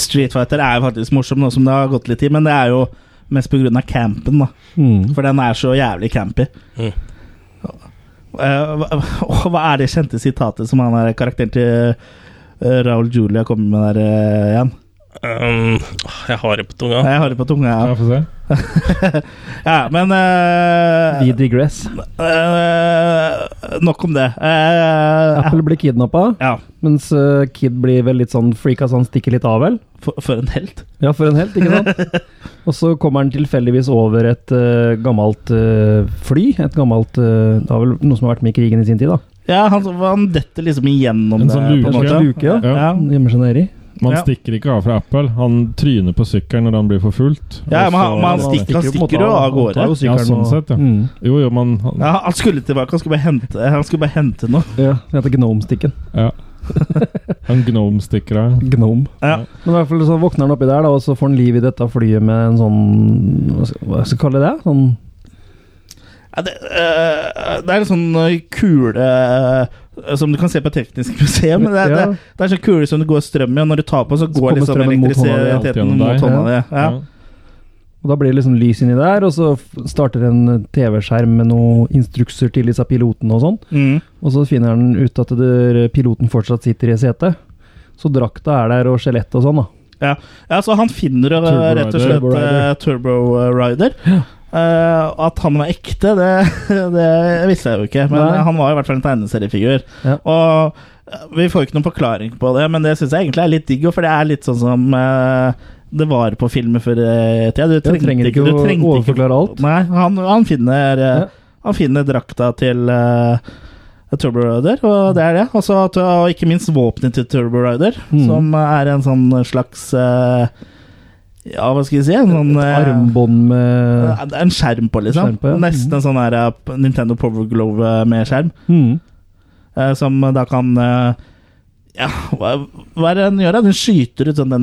[SPEAKER 1] Street Fighter er jo faktisk morsom, nå som det har gått litt tid, men det er jo mest på grunn av campen, da.
[SPEAKER 3] Mm.
[SPEAKER 1] For den er så jævlig campy.
[SPEAKER 4] Mm.
[SPEAKER 1] Eh, hva- og hva er det kjente sitatet som han er karakteren til eh, Raoul Julia kommer med der eh, igjen?
[SPEAKER 4] um, Jeg har det på tunga.
[SPEAKER 1] Jeg har det på tunga.
[SPEAKER 2] Ja,
[SPEAKER 1] Ja,
[SPEAKER 2] få se.
[SPEAKER 1] ja men eh,
[SPEAKER 3] We digress.
[SPEAKER 1] eh, Nok om det. Eh,
[SPEAKER 3] Apple blir kidnappa,
[SPEAKER 1] Ja,
[SPEAKER 3] mens eh, Kid blir vel litt sånn freaka, så han stikker litt av, vel?
[SPEAKER 1] for, for en helt.
[SPEAKER 3] Ja, for en helt, ikke sant? og så kommer han tilfeldigvis over et eh, gammelt eh, fly. Et gammelt eh, Det var vel noe som har vært med i krigen i sin tid, da.
[SPEAKER 1] Ja, han, han detter liksom igjennom
[SPEAKER 2] En sånn
[SPEAKER 1] det, på en
[SPEAKER 2] luke.
[SPEAKER 1] måte.
[SPEAKER 3] En luke, ja.
[SPEAKER 1] Ja.
[SPEAKER 3] Han Gjemmer seg nedi.
[SPEAKER 2] Man
[SPEAKER 1] Ja.
[SPEAKER 2] stikker ikke av fra Apple. Han tryner på sykkelen når han blir forfulgt.
[SPEAKER 1] Ja, men han-
[SPEAKER 2] Og så-
[SPEAKER 1] men han stikker- han stikker jo av gårde.
[SPEAKER 2] Ja, sånn sett, ja.
[SPEAKER 3] Mm.
[SPEAKER 2] Jo, jo, man han,
[SPEAKER 1] Ja, han skulle tilbake, han skulle bare hente, han skulle bare hente noe.
[SPEAKER 3] ja. Det heter Gnome-stikken.
[SPEAKER 2] ja. Han gnome stikker av.
[SPEAKER 3] Gnome.
[SPEAKER 1] Ja.
[SPEAKER 3] Men i hvert fall så våkner han oppi der, da, og så får han liv i dette flyet med en sånn Hva skal hva skal jeg kalle det? Sånn
[SPEAKER 1] Ja, det, eh, det er en sånn eh, kule eh, som du kan se på teknisk museum. men Det er,
[SPEAKER 3] Ja.
[SPEAKER 1] det, det er sånn kule som det går strøm i, og når du tar på, så går
[SPEAKER 3] kommer
[SPEAKER 1] liksom
[SPEAKER 3] strømmen mot hånda di,
[SPEAKER 2] alt
[SPEAKER 1] elektrisiteten
[SPEAKER 2] gjennom
[SPEAKER 1] mot
[SPEAKER 2] deg.
[SPEAKER 1] hånda di. Ja.
[SPEAKER 2] Ja.
[SPEAKER 3] Og Da blir det liksom lys inni der, og så f- starter en TV-skjerm med noen instrukser til disse pilotene og sånn.
[SPEAKER 1] Mm.
[SPEAKER 3] Og så finner han ut at det, piloten fortsatt sitter i setet. Så drakta er der, og skjelettet og sånn, da.
[SPEAKER 1] ja, så han finner jo eh,
[SPEAKER 2] Turbo
[SPEAKER 1] rett og
[SPEAKER 2] Rider.
[SPEAKER 1] slett
[SPEAKER 3] Turbo Rider.
[SPEAKER 1] eh, Turbo eh, Rider. Eh, og at han var ekte, det, det visste jeg jo ikke, men
[SPEAKER 3] Nei.
[SPEAKER 1] han var i hvert fall en tegneseriefigur.
[SPEAKER 3] Ja.
[SPEAKER 1] Og eh, vi får jo ikke noen forklaring på det, men det syns jeg egentlig er litt digg, for det er litt sånn som eh, det var på filmer før i tida. Du
[SPEAKER 3] Ja,
[SPEAKER 1] trengte,
[SPEAKER 3] trenger ikke
[SPEAKER 1] du
[SPEAKER 3] å
[SPEAKER 1] trengte ikke-
[SPEAKER 3] overforklare alt.
[SPEAKER 1] Nei, han, han finner eh,
[SPEAKER 3] Ja.
[SPEAKER 1] Han finner drakta til eh, Turbo Rider, og det er det. Og så at- og ikke minst våpenet til Turbo Rider,
[SPEAKER 3] Mm.
[SPEAKER 1] som er en sånn slags eh, Ja, hva skal vi si? En sånn
[SPEAKER 3] Et
[SPEAKER 1] eh,
[SPEAKER 3] armbånd med
[SPEAKER 1] ja, det er en skjerm på, liksom.
[SPEAKER 3] Skjerm på, ja.
[SPEAKER 1] Nesten en sånn her, eh, p- Nintendo Power Glove eh, med skjerm,
[SPEAKER 3] mm.
[SPEAKER 1] eh, som da kan eh, ja, hva, hva er det den gjør? da? Den skyter ut sånn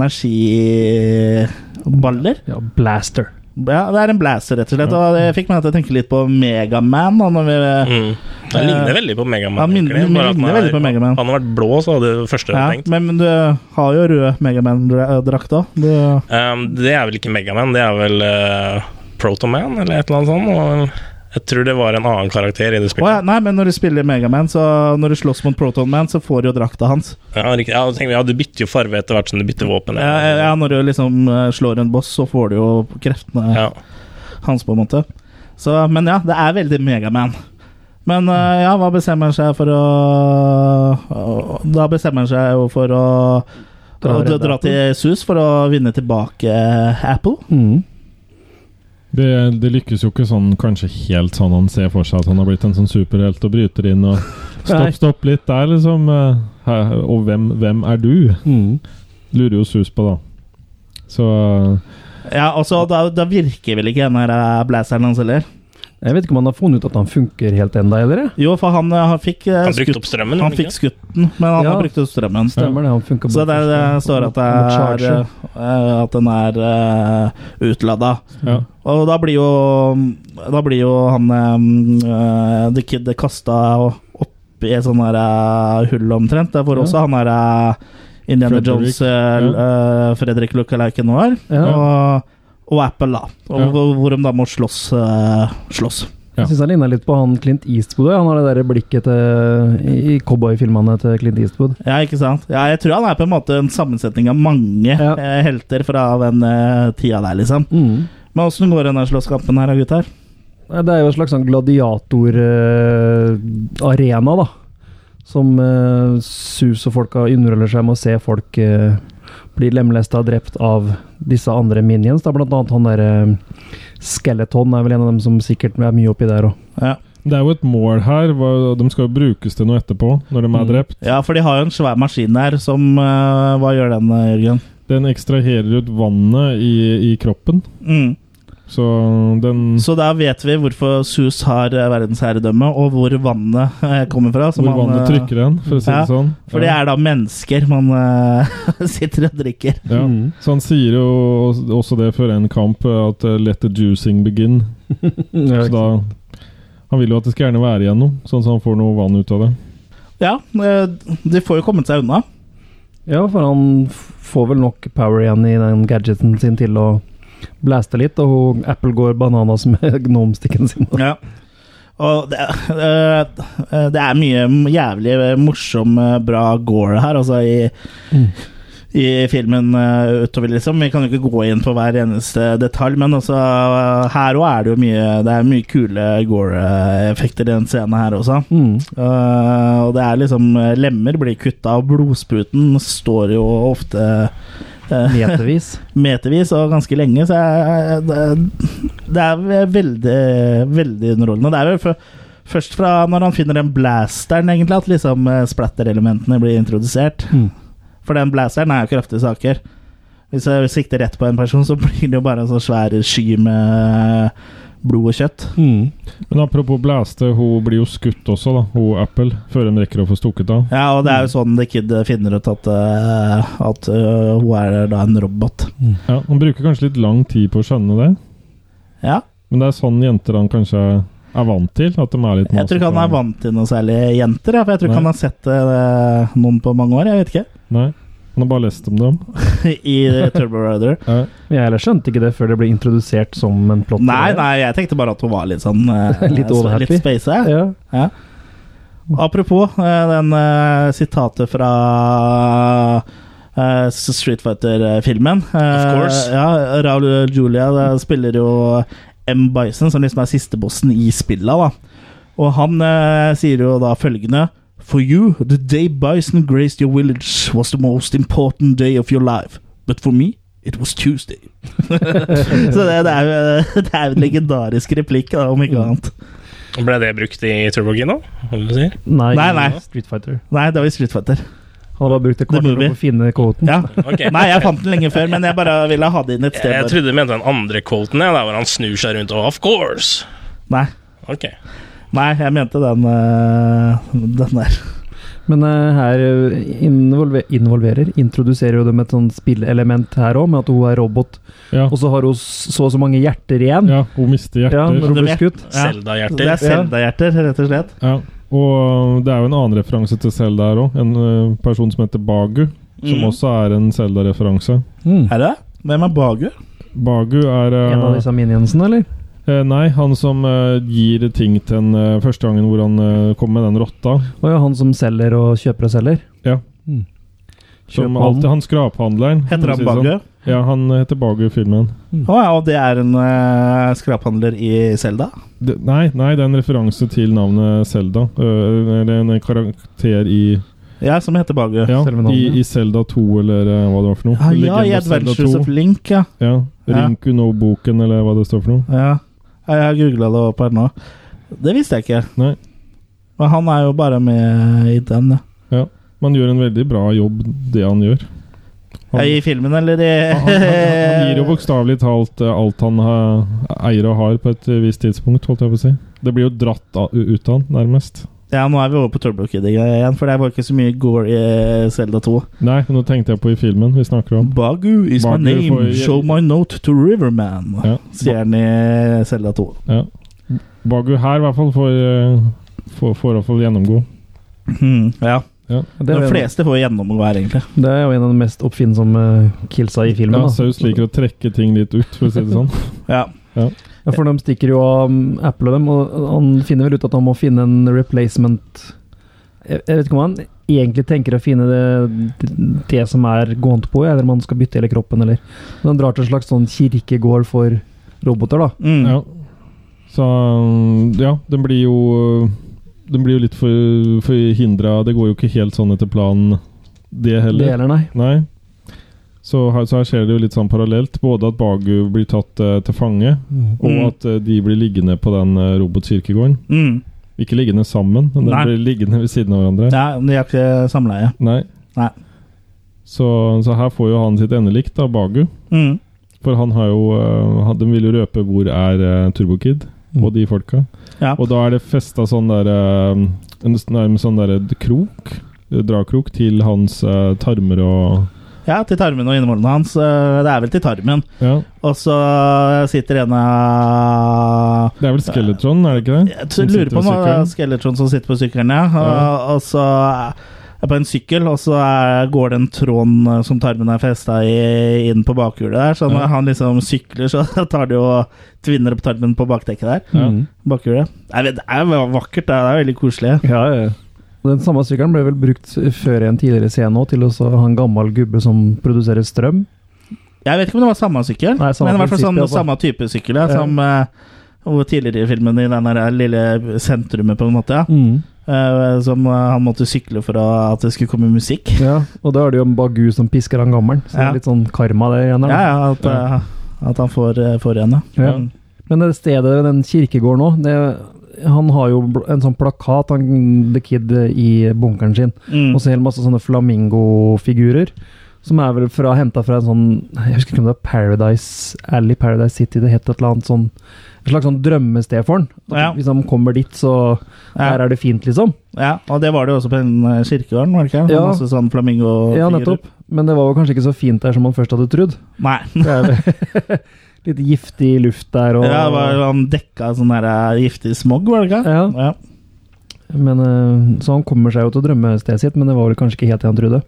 [SPEAKER 1] energiballer.
[SPEAKER 3] Ja, blaster.
[SPEAKER 1] Ja, det er en blaster, rett og slett. Og det fikk meg til å tenke litt på Megaman. Når vi, eh,
[SPEAKER 4] Mm. Den ligner veldig på Megaman.
[SPEAKER 1] Ja, min-
[SPEAKER 4] egentlig,
[SPEAKER 1] min
[SPEAKER 4] bare at den
[SPEAKER 1] ligner veldig
[SPEAKER 4] er-
[SPEAKER 1] på Mega Man.
[SPEAKER 4] Hadde den vært blå, så hadde det første
[SPEAKER 1] ja,
[SPEAKER 4] jeg tenkt.
[SPEAKER 1] men du har jo rød Megaman-drakt òg.
[SPEAKER 4] Um, det er vel ikke Megaman, det er vel eh, Protoman eller et eller annet sånt. Og jeg tror det var en annen karakter i det
[SPEAKER 1] Å
[SPEAKER 4] spillet.
[SPEAKER 1] ja, nei, men når du spiller Megaman, så når du slåss mot Proton Man, så får du jo drakta hans.
[SPEAKER 4] Ja, riktig. Ja, tenk, ja, du bytter jo farve etter hvert som du bytter våpen.
[SPEAKER 1] Ja, ja, når du liksom eh, slår en boss, så får du jo kreftene
[SPEAKER 4] Ja.
[SPEAKER 1] hans, på en måte. Så, men ja, det er veldig Megaman. Men eh, ja, hva bestemmer han seg for å Da bestemmer han seg jo for å
[SPEAKER 3] Dra
[SPEAKER 1] å
[SPEAKER 3] og redde
[SPEAKER 1] dra til SUS for å vinne tilbake Apple.
[SPEAKER 3] Mm.
[SPEAKER 2] Det, det lykkes jo ikke sånn kanskje helt sånn han ser for seg at han har blitt en sånn superhelt og bryter inn og
[SPEAKER 3] Nei.
[SPEAKER 2] Stopp, stopp litt der, liksom. eh, hæ, Og hvem, hvem er du?
[SPEAKER 3] Mm.
[SPEAKER 2] Lurer jo sus på, da. Så eh,
[SPEAKER 1] Ja, og så da, da virker vel ikke den her eh, blazeren hans heller.
[SPEAKER 3] Jeg vet ikke om han har funnet ut at han funker helt enda, eller? jeg?
[SPEAKER 1] Jo, for han, eh, han fikk eh,
[SPEAKER 4] Han brukte
[SPEAKER 1] skutt
[SPEAKER 4] opp strømmen.
[SPEAKER 1] Han
[SPEAKER 4] gjorde
[SPEAKER 1] fikk
[SPEAKER 4] ikke?
[SPEAKER 1] skutt den, men han
[SPEAKER 3] Ja.
[SPEAKER 1] har brukt opp strømmen.
[SPEAKER 3] Stemmer det, han funker
[SPEAKER 1] Så der det
[SPEAKER 3] først.
[SPEAKER 1] står at,
[SPEAKER 3] Han må
[SPEAKER 1] det
[SPEAKER 3] charge.
[SPEAKER 1] er, eh, at den er uh, utlada.
[SPEAKER 2] ja.
[SPEAKER 1] Og da blir jo, da blir jo han eh, eh, The Kid kasta opp i et sånt der, eh, hull omtrent. Der får
[SPEAKER 3] Ja.
[SPEAKER 1] også han der eh, Indiana
[SPEAKER 2] Frederick,
[SPEAKER 1] Jones, eh, eh, Fredrik Lukalauken, var.
[SPEAKER 3] Ja.
[SPEAKER 1] Og og Apple, da. Og,
[SPEAKER 2] Ja.
[SPEAKER 1] hvor- Hvor de da må slåss. eh, slåss.
[SPEAKER 2] Ja.
[SPEAKER 3] Jeg syns han ligna litt på han Clint Eastwood. ja. Han har det der blikket til, i- i cowboyfilmene til Clint Eastwood.
[SPEAKER 1] Ja, ikke sant? Ja, jeg tror han er på en måte en sammensetning av mange
[SPEAKER 3] Ja.
[SPEAKER 1] eh, helter fra den eh, tida der, liksom.
[SPEAKER 3] Mm.
[SPEAKER 1] Men åssen går den der slåsskampen her, da, gutter?
[SPEAKER 3] Nei, Det er jo en slags sånn gladiatorarena, da. Som eh, sus og folka underholder seg med å se folk eh, bli lemlesta og drept av disse andre minions. Da. Blant annet han derre Skeleton er vel en av dem som sikkert er mye oppi der òg.
[SPEAKER 1] Ja.
[SPEAKER 2] Det er jo et mål her. hva- De skal jo brukes til noe etterpå, når de
[SPEAKER 1] Mm.
[SPEAKER 2] er drept.
[SPEAKER 1] ja, for de har jo en svær maskin der som eh, Hva gjør den, eh, Jørgen?
[SPEAKER 2] Den ekstraherer ut vannet i, i kroppen.
[SPEAKER 1] Mm.
[SPEAKER 2] Så den
[SPEAKER 1] Så da vet vi hvorfor Sus har eh, verdensherredømme, og hvor vannet eh, kommer fra. som
[SPEAKER 2] Hvor
[SPEAKER 1] han,
[SPEAKER 2] vannet
[SPEAKER 1] eh,
[SPEAKER 2] trykker den, for å si
[SPEAKER 1] ja,
[SPEAKER 2] det sånn.
[SPEAKER 1] For det
[SPEAKER 2] Ja.
[SPEAKER 1] er da mennesker man eh, sitter og drikker.
[SPEAKER 2] Ja. Så han sier jo også det før en kamp, at eh, 'let the juicing begin'.
[SPEAKER 3] Mm,
[SPEAKER 2] Så da Han vil jo at det skal gjerne være igjen noe, sånn at han får noe vann ut av det.
[SPEAKER 1] Ja, eh, de får jo kommet seg unna.
[SPEAKER 3] Ja, for han f- får vel nok power igjen i den gadgeten sin til å blaste litt, og hun- Apple går bananas med gnomstikken sin.
[SPEAKER 1] Ja. Og det, eh, det er mye jævlig morsom, eh, bra gore her, altså i, i filmen eh, utover, liksom. Vi kan jo ikke gå inn på hver eneste detalj, men altså eh, her òg er det jo mye Det er mye kule gore-effekter i den scenen her også.
[SPEAKER 3] Mm.
[SPEAKER 1] Eh, og det er liksom eh, Lemmer blir kutta, og blodspruten står jo ofte eh,
[SPEAKER 3] Metervis.
[SPEAKER 1] metervis og ganske lenge, så jeg, det, det er veldig, veldig underholdende. Det er vel fø- først fra når han finner den blasteren, egentlig, at liksom eh, splatter-elementene blir introdusert.
[SPEAKER 3] Mm.
[SPEAKER 1] For den blasteren er jo kraftige saker. Hvis jeg sikter rett på en person, så blir det jo bare en sånn svær sky med blod og kjøtt.
[SPEAKER 3] Mm.
[SPEAKER 2] Men apropos blæste, hun blir jo skutt også, da. Hun Apple, før hun rekker å få stukket av.
[SPEAKER 1] Ja, og det er jo sånn The Kid finner ut at, eh, at eh, hun er da en robot.
[SPEAKER 2] Ja, Han bruker kanskje litt lang tid på å skjønne det,
[SPEAKER 1] Ja.
[SPEAKER 2] men det er sånn jenter han kanskje er vant til. At de er litt
[SPEAKER 1] Jeg tror ikke han er vant til noe særlig jenter, ja, for jeg tror ikke
[SPEAKER 2] Nei.
[SPEAKER 1] han har sett eh, noen på mange år. Jeg vet ikke.
[SPEAKER 2] Nei, han har bare lest om dem.
[SPEAKER 1] i Turbo Rider.
[SPEAKER 2] Ja.
[SPEAKER 3] Men Jeg heller skjønte ikke det før det ble introdusert som en plott.
[SPEAKER 1] Nei, nei, jeg tenkte bare at hun var litt sånn eh,
[SPEAKER 3] Litt overhappy.
[SPEAKER 1] Litt space, ja.
[SPEAKER 3] Ja.
[SPEAKER 1] ja. Apropos eh, den eh, sitatet fra eh, Street Fighter-filmen. Eh,
[SPEAKER 4] Of course.
[SPEAKER 1] Ja, Raul Julia eh, spiller jo M. Bison, som liksom er sistebossen i spillet. Da. Og han eh, sier jo da følgende For you, the day Bison graced your village was the most important day of your life. But for me, it was Tuesday. Så det, det er jo eh, det er jo en legendarisk replikk, da, om ikke
[SPEAKER 4] Mm.
[SPEAKER 1] annet.
[SPEAKER 4] Ble det brukt i Turbogino? Ok,
[SPEAKER 3] Nei,
[SPEAKER 1] Nei, nei.
[SPEAKER 3] Street Fighter.
[SPEAKER 1] Nei, det var i Street Fighter.
[SPEAKER 3] Han har bare brukt et
[SPEAKER 1] The
[SPEAKER 3] kvart år
[SPEAKER 1] movie.
[SPEAKER 3] på å finne kvoten.
[SPEAKER 1] Ja. Nei, jeg fant den lenge før, men jeg bare ville ha det inn et sted.
[SPEAKER 4] Jeg
[SPEAKER 1] bare.
[SPEAKER 4] trodde du mente den andre quoten, ja, der hvor han snur seg rundt og 'of course'.
[SPEAKER 1] Nei,
[SPEAKER 4] Ok.
[SPEAKER 1] nei, jeg mente den, øh, den der.
[SPEAKER 3] Men eh, her eh, involve, involverer, introduserer jo dem et sånt spillelement her òg, med at hun er robot,
[SPEAKER 2] Ja.
[SPEAKER 3] og så har hun s- så og så mange hjerter igjen.
[SPEAKER 1] sånn.
[SPEAKER 2] ja, hun mister
[SPEAKER 3] Ja, når
[SPEAKER 2] hjerter.
[SPEAKER 3] hun blir skutt.
[SPEAKER 1] Ja. Det
[SPEAKER 4] Selda-hjerter.
[SPEAKER 1] er Selda-hjerter, rett og slett.
[SPEAKER 2] Ja. Og øh, det er jo en annen referanse til Selda her òg. En eh, person som heter Bagu, som
[SPEAKER 1] Mm.
[SPEAKER 2] også er en Selda-referanse.
[SPEAKER 3] Mm.
[SPEAKER 1] Er det? Hvem er Bagu?
[SPEAKER 2] Bagu er eh,
[SPEAKER 3] En av disse minionsene, eller?
[SPEAKER 2] Eh, nei, han som eh, gir ting til en eh, første gangen hvor han eh, kommer med den rotta.
[SPEAKER 3] Og ja, han som selger og kjøper og selger.
[SPEAKER 2] Ja.
[SPEAKER 3] Mm.
[SPEAKER 2] Som
[SPEAKER 3] Kjøp han.
[SPEAKER 2] alltid, han skraphandleren. for å
[SPEAKER 1] Heter
[SPEAKER 2] si
[SPEAKER 1] han
[SPEAKER 2] det sånn.
[SPEAKER 1] Bagu?
[SPEAKER 2] Ja, han heter Bagu i filmen.
[SPEAKER 1] Å ja, og det er en øh, skraphandler i Selda?
[SPEAKER 2] Det- nei, nei, det er en referanse til navnet Selda. Eller en karakter i
[SPEAKER 1] Ja, som heter Bagu. Ja,
[SPEAKER 2] Ja,
[SPEAKER 3] Selve navnet.
[SPEAKER 2] i, i Selda 2, eller eh, hva det var for noe.
[SPEAKER 1] ja
[SPEAKER 2] Legend
[SPEAKER 1] i
[SPEAKER 2] of Zelda
[SPEAKER 1] Adventures
[SPEAKER 2] 2.
[SPEAKER 1] of Link, ja.
[SPEAKER 2] Ja,
[SPEAKER 1] Ja.
[SPEAKER 2] Rinku No-boken, eller hva det står for noe.
[SPEAKER 1] ja. Ja, Jeg har googla det opp her nå. Det visste jeg ikke.
[SPEAKER 2] Nei.
[SPEAKER 1] Men han er jo bare med i den, ja.
[SPEAKER 2] Ja. Man gjør en veldig bra jobb, det han gjør. Han-
[SPEAKER 1] I filmen, eller i
[SPEAKER 2] Han, han, han han gir jo bokstavelig talt eh, alt han eh, eier og har på et eh, visst tidspunkt, holdt jeg på å si. Det blir jo dratt av, u- ut av han, nærmest.
[SPEAKER 1] Ja, nå er vi over på Turbo Kid igjen, for det var ikke så mye gore i eh, Selda 2.
[SPEAKER 2] Nei, nå tenkte jeg på i filmen vi snakker om.
[SPEAKER 1] Bagu is
[SPEAKER 2] Bagu
[SPEAKER 1] my name,
[SPEAKER 2] får-
[SPEAKER 1] show my note to Riverman,
[SPEAKER 2] Ja.
[SPEAKER 1] sier han i Selda 2.
[SPEAKER 2] Ja. øh, Bagu her i hvert fall får, eh, får, får i hvert fall gjennomgå.
[SPEAKER 1] Hmm, ja.
[SPEAKER 2] Ja.
[SPEAKER 3] Det er,
[SPEAKER 1] De
[SPEAKER 3] jo en,
[SPEAKER 1] fleste får gjennomgå her, egentlig.
[SPEAKER 3] det er jo en av de mest oppfinnsomme killsa i filmen.
[SPEAKER 2] Ja,
[SPEAKER 3] da.
[SPEAKER 2] Saus liker å trekke ting litt ut, for å si det sånn.
[SPEAKER 1] Ja.
[SPEAKER 3] Ja, for de stikker jo av mm, Apple og dem, og han finner vel ut at han må finne en replacement Jeg jeg vet ikke om han egentlig tenker å finne det, det som er gående på, eller om han skal bytte hele kroppen, eller Men han drar til en slags sånn kirkegård for roboter, da.
[SPEAKER 1] Mm.
[SPEAKER 2] Ja. Så um, ja, den blir jo uh, Den blir jo litt for- forhindra. Det går jo ikke helt sånn etter planen, det
[SPEAKER 3] Det
[SPEAKER 2] heller.
[SPEAKER 3] gjelder, nei.
[SPEAKER 2] Nei. Så her, så her skjer det jo litt sånn parallelt. Både at Bagu blir tatt eh, til fange, og
[SPEAKER 1] Mm.
[SPEAKER 2] at eh, de blir liggende på den eh, robotkirkegården.
[SPEAKER 1] Mm.
[SPEAKER 2] Ikke liggende sammen, men de
[SPEAKER 1] Nei.
[SPEAKER 2] blir liggende ved siden av hverandre.
[SPEAKER 1] ja, men de har ikke samleie.
[SPEAKER 2] Nei.
[SPEAKER 1] Nei.
[SPEAKER 2] Så, så her får jo han sitt endelikt, da, Bagu.
[SPEAKER 1] Mm.
[SPEAKER 2] For han har jo eh, han- De vil jo røpe hvor er eh, Turbokid og de folka.
[SPEAKER 1] Mm. Ja.
[SPEAKER 2] Og da er det festa sånn der eh, En nærmest sånn der krok, eh, dragkrok, til hans eh, tarmer og
[SPEAKER 1] ja, til tarmen og innvollene hans. Eh, Det er vel til tarmen.
[SPEAKER 2] Ja.
[SPEAKER 1] Og så sitter en av
[SPEAKER 2] Det er vel Skeletron, er det ikke det?
[SPEAKER 1] Jeg
[SPEAKER 2] Som
[SPEAKER 1] tror, lurer
[SPEAKER 2] sitter
[SPEAKER 1] på om det
[SPEAKER 2] sykkelen.
[SPEAKER 1] er Skeleton som sitter på sykkelen, ja. Og,
[SPEAKER 2] Ja.
[SPEAKER 1] og så er på en sykkel, og så er, går den tråden eh, som tarmen er festa i, inn på bakhjulet der. Så når
[SPEAKER 2] Ja.
[SPEAKER 1] han liksom sykler, så tar det jo og tvinner opp tarmen på bakdekket der.
[SPEAKER 2] Ja.
[SPEAKER 3] Mm.
[SPEAKER 1] Bakhjulet. Nei, men Det er jo vakkert, det er veldig koselig.
[SPEAKER 3] Ja, ja. Den samme sykkelen ble vel brukt før i en tidligere scene òg, til å så ha en gammel gubbe som produserer strøm.
[SPEAKER 1] Jeg vet ikke om det var samme sykkel,
[SPEAKER 3] Nei, samme
[SPEAKER 1] men i hvert fall sånn,
[SPEAKER 3] prinsippet, altså.
[SPEAKER 1] samme type sykkel ja,
[SPEAKER 3] Ja.
[SPEAKER 1] som eh, hvor tidligere i filmen, i den der lille sentrumet, på en måte. Ja. Eh, som eh, han måtte sykle for å, at det skulle komme musikk.
[SPEAKER 3] Ja, og da er det jo en Bagu som pisker han gammelen, så det
[SPEAKER 1] Ja.
[SPEAKER 3] er litt sånn karma der
[SPEAKER 1] Ja,
[SPEAKER 3] igjen. da.
[SPEAKER 1] ja, at, eh, at han får, eh, får igjen, ja.
[SPEAKER 3] Ja. Men det stedet, den kirkegården òg, det Han har jo bl- en sånn plakat, han The Kid, i bunkeren sin.
[SPEAKER 1] Mm.
[SPEAKER 3] Og så en hel masse sånne flamingofigurer. Som er vel fra, henta fra en sånn Jeg husker ikke om det var Paradise Alley, Paradise City, det het et eller annet sånn Et slags sånn drømmested for han. At
[SPEAKER 1] Ja.
[SPEAKER 3] Hvis han kommer dit, så
[SPEAKER 1] Ja.
[SPEAKER 3] Her er det fint, liksom.
[SPEAKER 1] Ja, og det var det jo også på den eh, kirkegården, var det ikke?
[SPEAKER 3] Ja.
[SPEAKER 1] Masse sånn flamingo
[SPEAKER 3] Ja, nettopp. Men det var jo kanskje ikke så fint der som han først hadde trodd.
[SPEAKER 1] Nei.
[SPEAKER 3] Det er vel litt giftig luft der og
[SPEAKER 1] Ja, det var jo han dekka av sånn der eh, giftig smog, var det ikke?
[SPEAKER 3] Ja. Men, eh, så han kommer seg jo til drømmestedet sitt, men det var vel kanskje ikke helt det han trodde.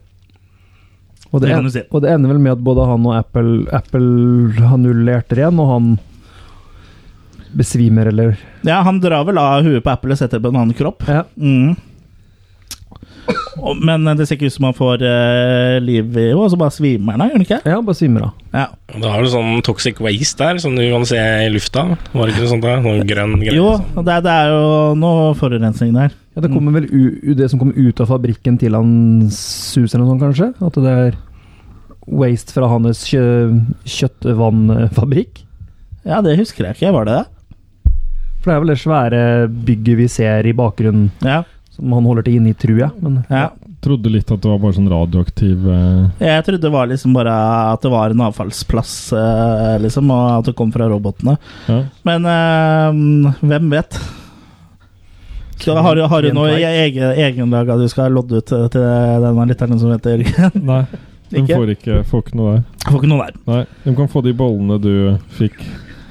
[SPEAKER 3] Og det,
[SPEAKER 1] Det kan du
[SPEAKER 3] en-
[SPEAKER 1] si.
[SPEAKER 3] og det ender vel med at både han og Apple, Apple har null hjerter igjen, og han besvimer, eller
[SPEAKER 1] ja. ja, han drar vel av huet på Apple og setter det på en annen kropp.
[SPEAKER 3] ja.
[SPEAKER 1] Mm. Og- Men det ser ikke ut som han får eh, liv i henne, og så bare svimer han av, gjør han ikke?
[SPEAKER 3] ja, bare svimer av.
[SPEAKER 1] Ja.
[SPEAKER 4] Det var vel sånn toxic waste der, som du kan se i lufta. Var det ikke noe sånt der? Noe grønn greie?
[SPEAKER 1] Jo,
[SPEAKER 4] sånn.
[SPEAKER 1] og det, er- det er jo noe forurensning der.
[SPEAKER 3] Ja, det kommer vel u, u, det som kommer ut av fabrikken til han suser eller noe sånt, kanskje? At det er waste fra hans kjø, kjøttvannfabrikk?
[SPEAKER 1] Ja, det husker jeg ikke. Var det det?
[SPEAKER 3] For det er vel det svære bygget vi ser i bakgrunnen,
[SPEAKER 1] Ja.
[SPEAKER 3] som han holder til inni, tror jeg. Men
[SPEAKER 1] ja.
[SPEAKER 2] Trodde litt at det var bare sånn radioaktiv eh,
[SPEAKER 1] Jeg trodde det var liksom bare at det var en avfallsplass, eh, liksom, og at det kom fra robotene.
[SPEAKER 2] ja.
[SPEAKER 1] Men eh, hvem vet? Skal, har, du- har du noe e-, egen, egenlaga du skal lodde ut til denne lytteren som heter Jørgen?
[SPEAKER 2] Nei, de
[SPEAKER 1] Ikke?
[SPEAKER 2] får ikke får ikke noe der.
[SPEAKER 1] Får ikke noe der.
[SPEAKER 2] Nei, De kan få de bollene du fikk.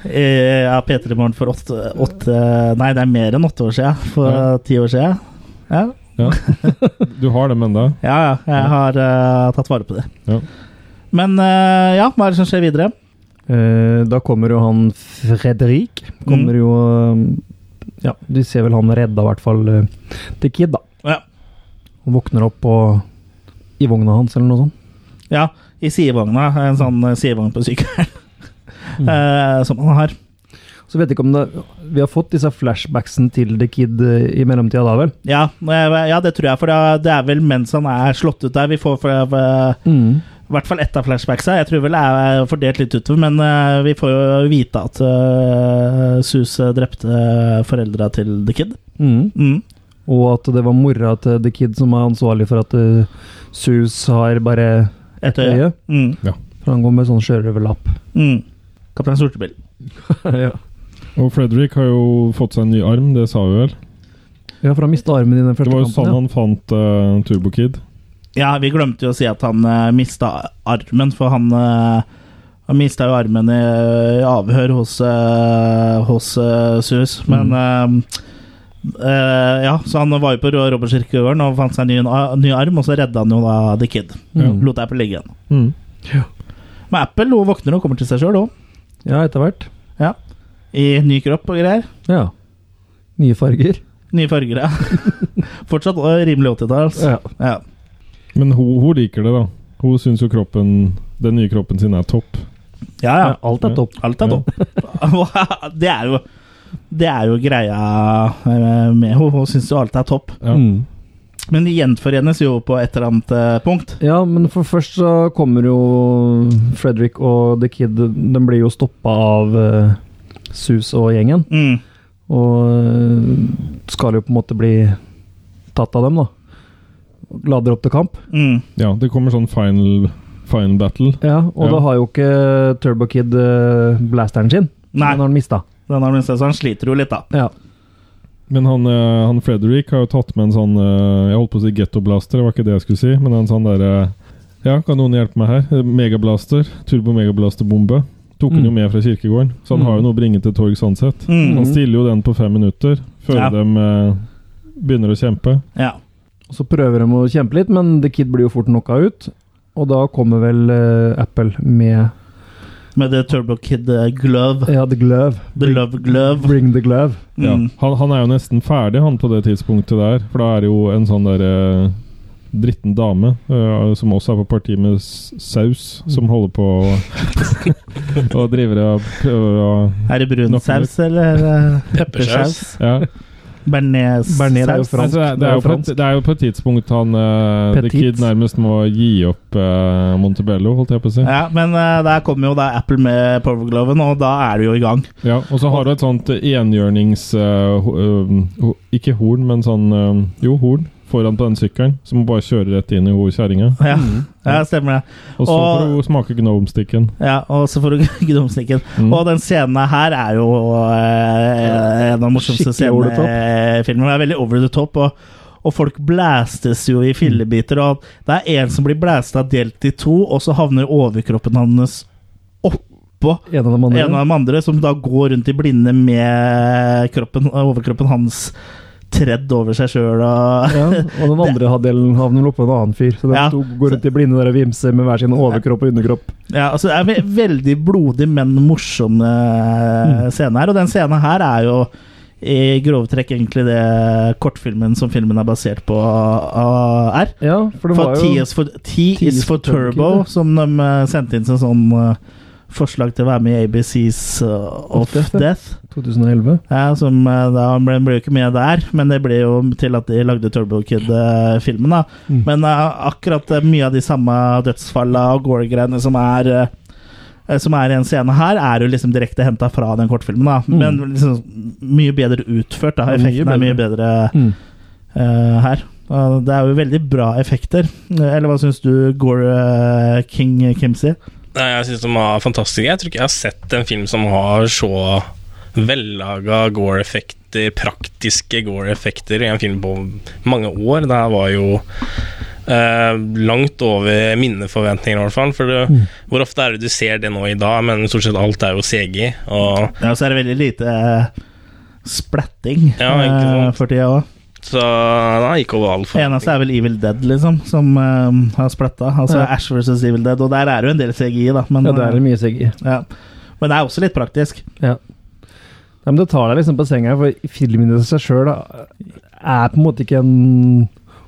[SPEAKER 1] Eh, Ja, P3 Morgen for åtte, åtte Nei, det er mer enn åtte år siden. For
[SPEAKER 2] Ja.
[SPEAKER 1] ti år siden. Ja,
[SPEAKER 2] Ja. Du har dem ennå?
[SPEAKER 1] ja, ja jeg har eh, tatt vare på det.
[SPEAKER 2] Ja.
[SPEAKER 1] Men eh, ja, hva er det som skjer videre?
[SPEAKER 3] Eh, da kommer jo han Fredrik. Kommer
[SPEAKER 1] Mm.
[SPEAKER 3] jo eh, Ja, du ser vel han redda i hvert fall eh, The Kid, da.
[SPEAKER 1] Ja.
[SPEAKER 3] Og våkner opp på, i vogna hans, eller noe sånt.
[SPEAKER 1] Ja, i sidevogna. En sånn eh, sidevogn på sykkelen. Eh, som han har.
[SPEAKER 3] Så vet jeg ikke om det Vi har fått disse flashbacksene til The Kid eh, i mellomtida, da vel?
[SPEAKER 1] Ja, eh, ja, det tror jeg, for det er- det er vel mens han er slått ut der. Vi får fra- fra-
[SPEAKER 3] Mm.
[SPEAKER 1] i hvert fall ett av flashbacksa. Jeg tror vel det er fordelt litt utover, men eh, vi får jo vite at eh, Sus eh, drepte foreldra til The Kid.
[SPEAKER 3] Mm.
[SPEAKER 1] Mm.
[SPEAKER 3] Og at det var mora til The Kid som er ansvarlig for at eh, Sus har bare ett øye.
[SPEAKER 1] Mm.
[SPEAKER 3] For han går med sånn sjørøverlapp.
[SPEAKER 1] Mm. Kaptein Sortebil.
[SPEAKER 3] ja.
[SPEAKER 2] Og Fredrik har jo fått seg en ny arm, det sa vi vel?
[SPEAKER 3] ja, for han mista armen i den
[SPEAKER 2] Det
[SPEAKER 3] første
[SPEAKER 2] var jo sånn
[SPEAKER 3] kampen.
[SPEAKER 2] han fant uh, Turbokid.
[SPEAKER 1] Ja, vi glemte jo å si at han uh, mista armen, for han uh, han mista jo armen i, i avhør hos, eh, hos eh, Sus, men eh, Eh, ja, så han var jo på Robbertskirkegården og fant seg en ny, ny arm, og så redda han jo da The Kid.
[SPEAKER 2] Mm.
[SPEAKER 1] Lot Apple ligge igjen.
[SPEAKER 2] Mm.
[SPEAKER 1] Men Apple hun våkner og kommer til seg sjøl òg.
[SPEAKER 3] Ja, etter hvert.
[SPEAKER 1] Ja. I ny kropp og greier.
[SPEAKER 3] Ja. Nye farger.
[SPEAKER 1] Nye farger, ja. Fortsatt eh, rimelig 80-talls.
[SPEAKER 3] Ja.
[SPEAKER 1] Ja.
[SPEAKER 2] Men hun, hun liker det, da. Hun syns jo kroppen Den nye kroppen sin er topp.
[SPEAKER 1] Ja, ja.
[SPEAKER 3] Ja, alt er topp.
[SPEAKER 1] Alt er
[SPEAKER 2] Ja.
[SPEAKER 1] topp. det er jo Det er jo greia eh, med henne. Hun syns jo alt er topp.
[SPEAKER 2] Ja.
[SPEAKER 3] Mm.
[SPEAKER 1] Men de gjenforenes jo på et eller annet eh, punkt.
[SPEAKER 3] Ja, men for først så kommer jo Fredrik og The Kid De blir jo stoppa av eh, Sus og gjengen.
[SPEAKER 1] Mm.
[SPEAKER 3] Og eh, skal jo på en måte bli tatt av dem, da. Lader opp til kamp.
[SPEAKER 1] Mm.
[SPEAKER 2] ja, det kommer sånn final, final battle.
[SPEAKER 3] Ja, Og
[SPEAKER 2] Ja.
[SPEAKER 3] da har jo ikke Turbo Kid eh, blasteren sin.
[SPEAKER 1] Nei.
[SPEAKER 3] Den har han mista.
[SPEAKER 1] Den har minst, så han sliter jo litt, da.
[SPEAKER 3] Ja.
[SPEAKER 2] Men han, eh, han Frederick har jo tatt med en sånn eh, Jeg holdt på å si gettoblaster, det var ikke det jeg skulle si. Men en sånn derre Ja, kan noen hjelpe meg her? Eh, Megablaster. Turbo-megablaster-bombe. Tok han
[SPEAKER 3] Mm.
[SPEAKER 2] jo med fra kirkegården. Så han
[SPEAKER 3] Mm.
[SPEAKER 2] har jo noe å bringe til torgs ansett.
[SPEAKER 1] Mm.
[SPEAKER 2] Han stiller jo den på fem minutter før
[SPEAKER 1] Ja.
[SPEAKER 2] de eh, begynner å kjempe.
[SPEAKER 1] Ja.
[SPEAKER 3] Og Så prøver de å kjempe litt, men The Kid blir jo fort knocka ut. Og da kommer vel eh, Apple med
[SPEAKER 1] Med The Turbo Kid eh, Glove.
[SPEAKER 3] Ja, The Glove.
[SPEAKER 1] The Love Glove.
[SPEAKER 3] Bring the glove.
[SPEAKER 2] Ja.
[SPEAKER 1] Mm.
[SPEAKER 2] Han, han er jo nesten ferdig han på det tidspunktet der, for da er det jo en sånn der eh, dritten dame eh, som også er på parti med s- saus,
[SPEAKER 3] Mm.
[SPEAKER 2] som holder på å, og driver og prøver å
[SPEAKER 1] Er det brun
[SPEAKER 2] Nok
[SPEAKER 1] saus eller uh, peppersaus?
[SPEAKER 4] Peppersaus.
[SPEAKER 2] ja.
[SPEAKER 1] Bearnés
[SPEAKER 3] Bearnés er jo
[SPEAKER 1] saus?
[SPEAKER 3] fransk.
[SPEAKER 2] altså, det, er- det, er jo på, et- det er jo på et tidspunkt han eh, The
[SPEAKER 3] Petit.
[SPEAKER 2] Kid nærmest må gi opp eh, Montebello, holdt jeg på å si.
[SPEAKER 1] Ja, men eh, der kommer jo da Apple med Powergloven, og da er du jo i gang.
[SPEAKER 2] Ja, og så har du et sånt enhjørnings... eh, ho- øhm, ho- ikke horn, men sånn øhm, Jo, horn foran på den sykkelen, som bare kjører rett inn i ho- kjerringa.
[SPEAKER 1] Ja,
[SPEAKER 3] Mm.
[SPEAKER 1] ja stemmer det.
[SPEAKER 2] Og så
[SPEAKER 1] Og-
[SPEAKER 2] får hun smake gnomestikken.
[SPEAKER 1] Ja, Og så får du gnomstikken.
[SPEAKER 2] Mm.
[SPEAKER 1] Og den scenen her er jo eh, en av de morsomste
[SPEAKER 3] Skikkelig over the top.
[SPEAKER 1] scenene i filmen. Det er veldig over the top. og og folk blæstes jo i fillebiter. Og det er en som blir blæsta delt i to, og så havner overkroppen hans oppå
[SPEAKER 3] En av de andre.
[SPEAKER 1] en av de andre, som da går rundt i blinde med kroppen, overkroppen hans tredd over seg sjøl og
[SPEAKER 3] Ja, og den andre halvdelen havner vel oppå en annen fyr. Så de
[SPEAKER 1] Ja.
[SPEAKER 3] to går rundt i blinde der og vimser med hver sin overkropp og underkropp.
[SPEAKER 1] Ja, altså det er ve- veldig blodig, men morsom
[SPEAKER 3] Mm.
[SPEAKER 1] eh, scene her. Og den scenen her er jo i grove trekk egentlig det kortfilmen som filmen er basert på, eh, er.
[SPEAKER 3] Ja, for det
[SPEAKER 1] For
[SPEAKER 3] var
[SPEAKER 1] T
[SPEAKER 3] jo
[SPEAKER 1] is for, T is for Turbo, som de eh, sendte inn som sånn eh, forslag til å være med i ABCs eh, Of
[SPEAKER 3] Of Death, ja.
[SPEAKER 1] Death.
[SPEAKER 3] 2011.
[SPEAKER 1] Ja, som eh, da Han ble, ble jo ikke med der, men det ble jo til at de lagde Turbo Kid-filmen. da
[SPEAKER 3] Mm.
[SPEAKER 1] Men eh, akkurat eh, mye av de samme dødsfalla og gore-greiene som er eh, eh, Som er i en scene her, er jo liksom direkte henta fra den kortfilmen. da Men liksom mye bedre utført. da
[SPEAKER 3] Mm. Ja, mye
[SPEAKER 1] Effekten er mye bedre
[SPEAKER 3] Mm.
[SPEAKER 1] eh, her. Og det er jo veldig bra effekter. Eller hva syns du, Gore eh, King Kimsey?
[SPEAKER 4] Nei, jeg syns de var fantastiske. Jeg tror ikke jeg har sett en film som har så vellaga gore-effekter, praktiske gore-effekter, i en film på mange år. Det her var jo eh, langt over mine forventninger, i hvert fall. For det,
[SPEAKER 1] Mm.
[SPEAKER 4] hvor ofte er det du ser det nå i dag, men stort sett alt er jo CG. Og
[SPEAKER 1] Ja, og så er det veldig lite eh, splatting
[SPEAKER 4] Ja, ikke
[SPEAKER 1] eh,
[SPEAKER 4] sant.
[SPEAKER 1] for tida òg.
[SPEAKER 4] så da gikk over all forventning.
[SPEAKER 1] Eneste er vel Evil Dead, liksom, som eh, har splatta. Altså
[SPEAKER 3] Ja.
[SPEAKER 1] Ash versus Evil Dead, og der er det jo en del CGI, da. Men, eh,
[SPEAKER 3] Ja, det er mye CGI.
[SPEAKER 1] ja. men det er også litt praktisk.
[SPEAKER 3] Ja. Ja, men det tar deg liksom på senga, for filmen i seg sjøl er på en måte ikke en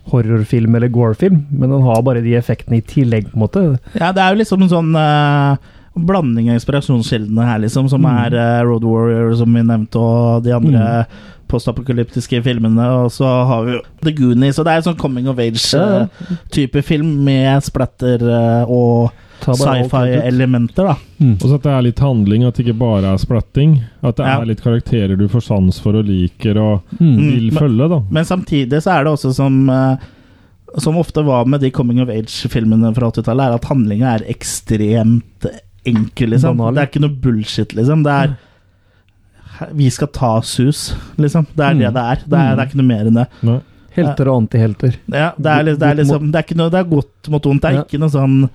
[SPEAKER 3] horrorfilm eller gore-film, men den har bare de effektene i tillegg, på en måte.
[SPEAKER 1] Ja, det er jo liksom en sånn eh, blanding av inspirasjonskildene her, liksom, som
[SPEAKER 3] Mm.
[SPEAKER 1] er eh, Road Warrior, som vi nevnte, og de andre postapokalyptiske filmene. Og så har vi jo The Goonies, og det er en sånn coming of
[SPEAKER 3] Ja, ja.
[SPEAKER 1] age-type film med splatter eh, og
[SPEAKER 3] Ta bare alt ut. Mm.
[SPEAKER 1] sci-fi-elementer, da.
[SPEAKER 2] Og så at det er litt handling, at det ikke bare er splatting. At det
[SPEAKER 1] Ja.
[SPEAKER 2] er litt karakterer du får sans for og liker og
[SPEAKER 3] Mm.
[SPEAKER 2] vil
[SPEAKER 1] Men-
[SPEAKER 2] følge, da.
[SPEAKER 1] Men samtidig så er det også som eh, Som ofte var med de coming of age-filmene fra 80-tallet, er at handlinga er ekstremt enkel, liksom.
[SPEAKER 3] Banal.
[SPEAKER 1] Det er ikke noe bullshit, liksom. Det er Vi skal ta sus, liksom. Det er
[SPEAKER 3] Mm.
[SPEAKER 1] det det er. Det er, det er ikke noe mer enn det.
[SPEAKER 2] Nei.
[SPEAKER 3] Helter og antihelter.
[SPEAKER 1] Ja, det, er, li- det er liksom Det er ikke noe Det er godt mot vondt. Det er
[SPEAKER 3] Ja.
[SPEAKER 1] ikke noe sånn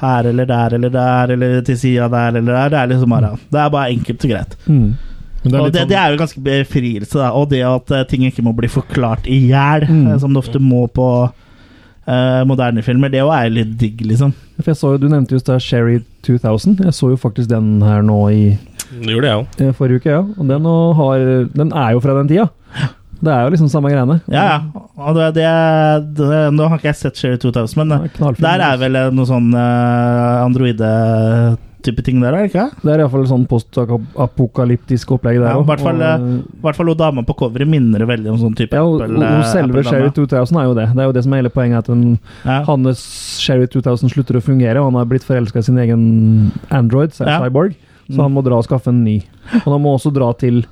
[SPEAKER 1] her eller der eller der eller til sida der eller der. Det er liksom bare Det er bare enkelt og greit.
[SPEAKER 3] Mm.
[SPEAKER 2] Men Men det er
[SPEAKER 1] Og
[SPEAKER 2] litt
[SPEAKER 1] det,
[SPEAKER 2] sånn-
[SPEAKER 1] det er jo ganske befrielse, da. Og det at eh, ting ikke må bli forklart i hjel,
[SPEAKER 3] Mm.
[SPEAKER 1] eh, som det ofte må på eh, moderne filmer, det òg er litt digg, liksom.
[SPEAKER 3] For jeg så jo, Du nevnte just da Sherry 2000. Jeg så jo faktisk den her nå i
[SPEAKER 4] Det gjorde jeg òg.
[SPEAKER 3] eh, forrige uke, ja. Og den, nå har, den er jo fra den tida. Det er jo liksom samme greiene.
[SPEAKER 1] Ja, ja. Og det, det, det, nå har ikke jeg sett Sherry 2000, men eh,
[SPEAKER 3] Knallfilm.
[SPEAKER 1] der er vel eh, noe sånn eh, androide-type ting der, er det ikke?
[SPEAKER 3] Det er iallfall sånn postapokalyptisk opplegg der
[SPEAKER 1] Ja,
[SPEAKER 3] òg.
[SPEAKER 1] i hvert fall, eh, I hvert fall hun dama på coveret minner veldig om sånn type
[SPEAKER 3] ja, og,
[SPEAKER 1] Apple,
[SPEAKER 3] og
[SPEAKER 1] eh,
[SPEAKER 3] selve
[SPEAKER 1] Apple-dame.
[SPEAKER 3] Sherry 2000 er jo det. Det er jo det som er hele poenget. At den,
[SPEAKER 1] Ja.
[SPEAKER 3] hans Sherry 2000 slutter å fungere, og han har blitt forelska i sin egen Android, så er
[SPEAKER 1] Ja.
[SPEAKER 3] Cyborg,
[SPEAKER 1] Mm.
[SPEAKER 3] så han må dra og skaffe en ny. Og han må også dra til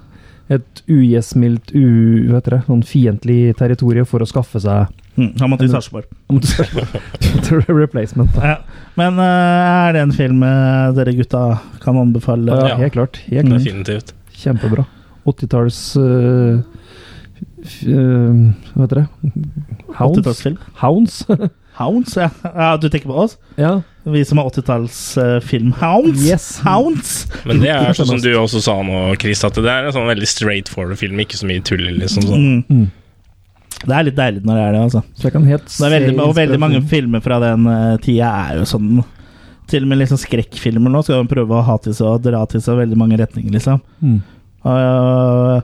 [SPEAKER 3] et ugjestmildt, u... Hva heter det? Sånn fiendtlig territorium for å skaffe seg
[SPEAKER 1] Mm, han måtte i Sarpsborg.
[SPEAKER 3] replacement. da.
[SPEAKER 1] Ja. Men eh, er det en film eh, dere gutta kan anbefale?
[SPEAKER 3] Ja,
[SPEAKER 4] Ja.
[SPEAKER 3] helt klart.
[SPEAKER 1] Mm.
[SPEAKER 3] Helt klart.
[SPEAKER 4] Definitivt.
[SPEAKER 3] Kjempebra. 80-talls øh, f- øh, Hva heter det? Hounds?
[SPEAKER 1] 80-tallsfilm?
[SPEAKER 3] Hounds?
[SPEAKER 1] Hounds, ja. ja. Du tenker på oss?
[SPEAKER 3] ja.
[SPEAKER 1] Vi som er 80-tallsfilm. Hounds!
[SPEAKER 3] Yes.
[SPEAKER 1] Hounds!
[SPEAKER 4] Men det er sånn som du også sa nå, Chris, at det er en sånn veldig straight forward film. Ikke så mye tull, liksom. Sånn.
[SPEAKER 1] Mm.
[SPEAKER 3] Mm.
[SPEAKER 1] Det er litt deilig når det er det, altså.
[SPEAKER 3] Så jeg kan helt
[SPEAKER 1] Det er veldig,
[SPEAKER 3] se
[SPEAKER 1] og veldig mange
[SPEAKER 3] inspirasjon.
[SPEAKER 1] filmer fra den eh, tida er jo sånn Til og med liksom skrekkfilmer nå skal de prøve å ha til seg og dra til seg veldig mange retninger, liksom.
[SPEAKER 3] Mm.
[SPEAKER 1] Eh,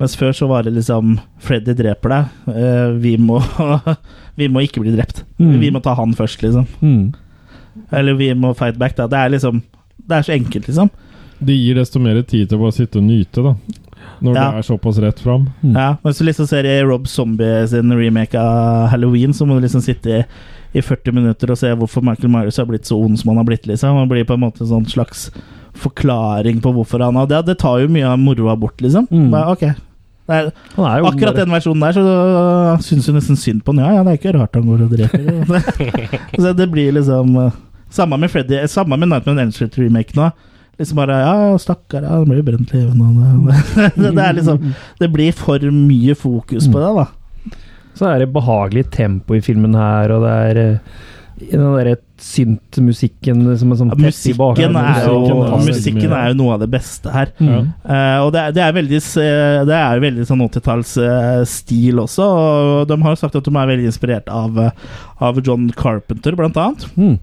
[SPEAKER 1] mens før så var det liksom Freddy dreper deg. eh, vi, må, vi må ikke bli drept.
[SPEAKER 3] Mm.
[SPEAKER 1] Vi må ta han først, liksom.
[SPEAKER 3] Mm.
[SPEAKER 1] Eller vi må fight back. Da. Det er liksom Det er så enkelt, liksom.
[SPEAKER 2] Det gir desto mer tid til å bare sitte og nyte, da. Når
[SPEAKER 1] Ja.
[SPEAKER 2] det er såpass rett fram.
[SPEAKER 1] Ja, men hvis du liksom ser i Rob Zombie sin remake av Halloween, så må du liksom sitte i, i 40 minutter og se hvorfor Michael Myers har blitt så ond som han har blitt. liksom. Han blir på en måte en sånn slags forklaring på hvorfor han Og det, det tar jo mye av moroa bort, liksom.
[SPEAKER 3] Mm.
[SPEAKER 1] Bare, ok. Det er,
[SPEAKER 3] Han er jo
[SPEAKER 1] akkurat
[SPEAKER 3] bare-
[SPEAKER 1] den versjonen der, så øh, syns du nesten synd på han. Ja, ja, det er ikke rart han går og dreper. så det blir liksom øh, Samme med Freddy, eh, samme med Nightmare on Elm Street-remake nå. Liksom bare Ja, ja, stakkar, ja, han blir jo brent levende. det, det er liksom Det blir for mye fokus på det, da.
[SPEAKER 3] Så er det behagelig tempo i filmen her, og det er eh, den derre synt-musikken som en sånn
[SPEAKER 1] Ja,
[SPEAKER 3] tett i
[SPEAKER 1] musikken,
[SPEAKER 3] bakgrunnen.
[SPEAKER 1] er jo,
[SPEAKER 2] musikken er veldig
[SPEAKER 1] musikken
[SPEAKER 2] mye.
[SPEAKER 1] er jo noe av det beste her.
[SPEAKER 2] Ja.
[SPEAKER 3] Mm.
[SPEAKER 1] Eh, og det er, det er veldig s- eh, Det er jo veldig sånn 80-tallsstil også. Og de har jo sagt at de er veldig inspirert av, eh, av John Carpenter, blant annet.
[SPEAKER 3] Mm.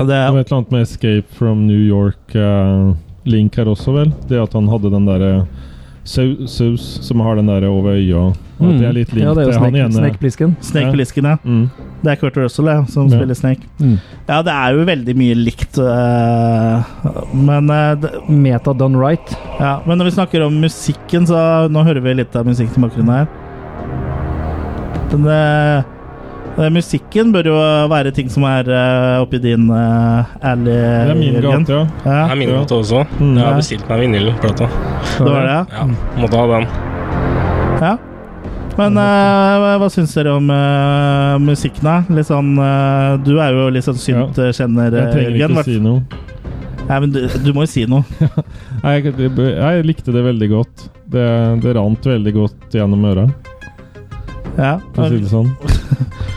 [SPEAKER 1] Og det
[SPEAKER 2] Det var et eller annet med 'Escape from New York' eh, Link her også, vel? Det at han hadde den derre sau- saus som har den derre over øya. Og at det er litt likt
[SPEAKER 3] Mm. ja, det er jo
[SPEAKER 2] til han
[SPEAKER 3] Snake,
[SPEAKER 2] ene.
[SPEAKER 3] Snake Plissken.
[SPEAKER 1] Snake
[SPEAKER 2] Ja.
[SPEAKER 1] Plissken, ja.
[SPEAKER 2] Mm.
[SPEAKER 1] Det er Kurt Russell ja, som
[SPEAKER 2] Ja.
[SPEAKER 1] spiller Snake.
[SPEAKER 3] Mm.
[SPEAKER 1] Ja, det er jo veldig mye likt, eh, men eh, det,
[SPEAKER 3] Meta done right.
[SPEAKER 1] Ja, men når vi snakker om musikken, så nå hører vi litt av musikk til bakgrunnen her. Den, eh, den musikken bør jo være ting som er eh, oppi din eh, alley.
[SPEAKER 2] Det er min
[SPEAKER 1] Eh, Jørgen.
[SPEAKER 2] gate, ja.
[SPEAKER 1] Ja,
[SPEAKER 4] Det er min gate også.
[SPEAKER 2] Mm.
[SPEAKER 4] Jeg har bestilt meg vinylplata.
[SPEAKER 1] det var det, ja.
[SPEAKER 4] Ja, måtte ha den.
[SPEAKER 1] ja. Men eh, hva- hva syns dere om eh, musikken, da? Litt sånn eh, Du er jo litt sånn synt-kjenner,
[SPEAKER 2] Jeg trenger
[SPEAKER 1] Jørgen.
[SPEAKER 2] ikke
[SPEAKER 1] eh, Hvert-
[SPEAKER 2] si noe.
[SPEAKER 1] Nei, men du, du må jo si noe.
[SPEAKER 2] Nei, Jeg, jeg, jeg likte det veldig godt. Det, det rant veldig godt gjennom øra,
[SPEAKER 1] Ja.
[SPEAKER 2] for å si det sånn.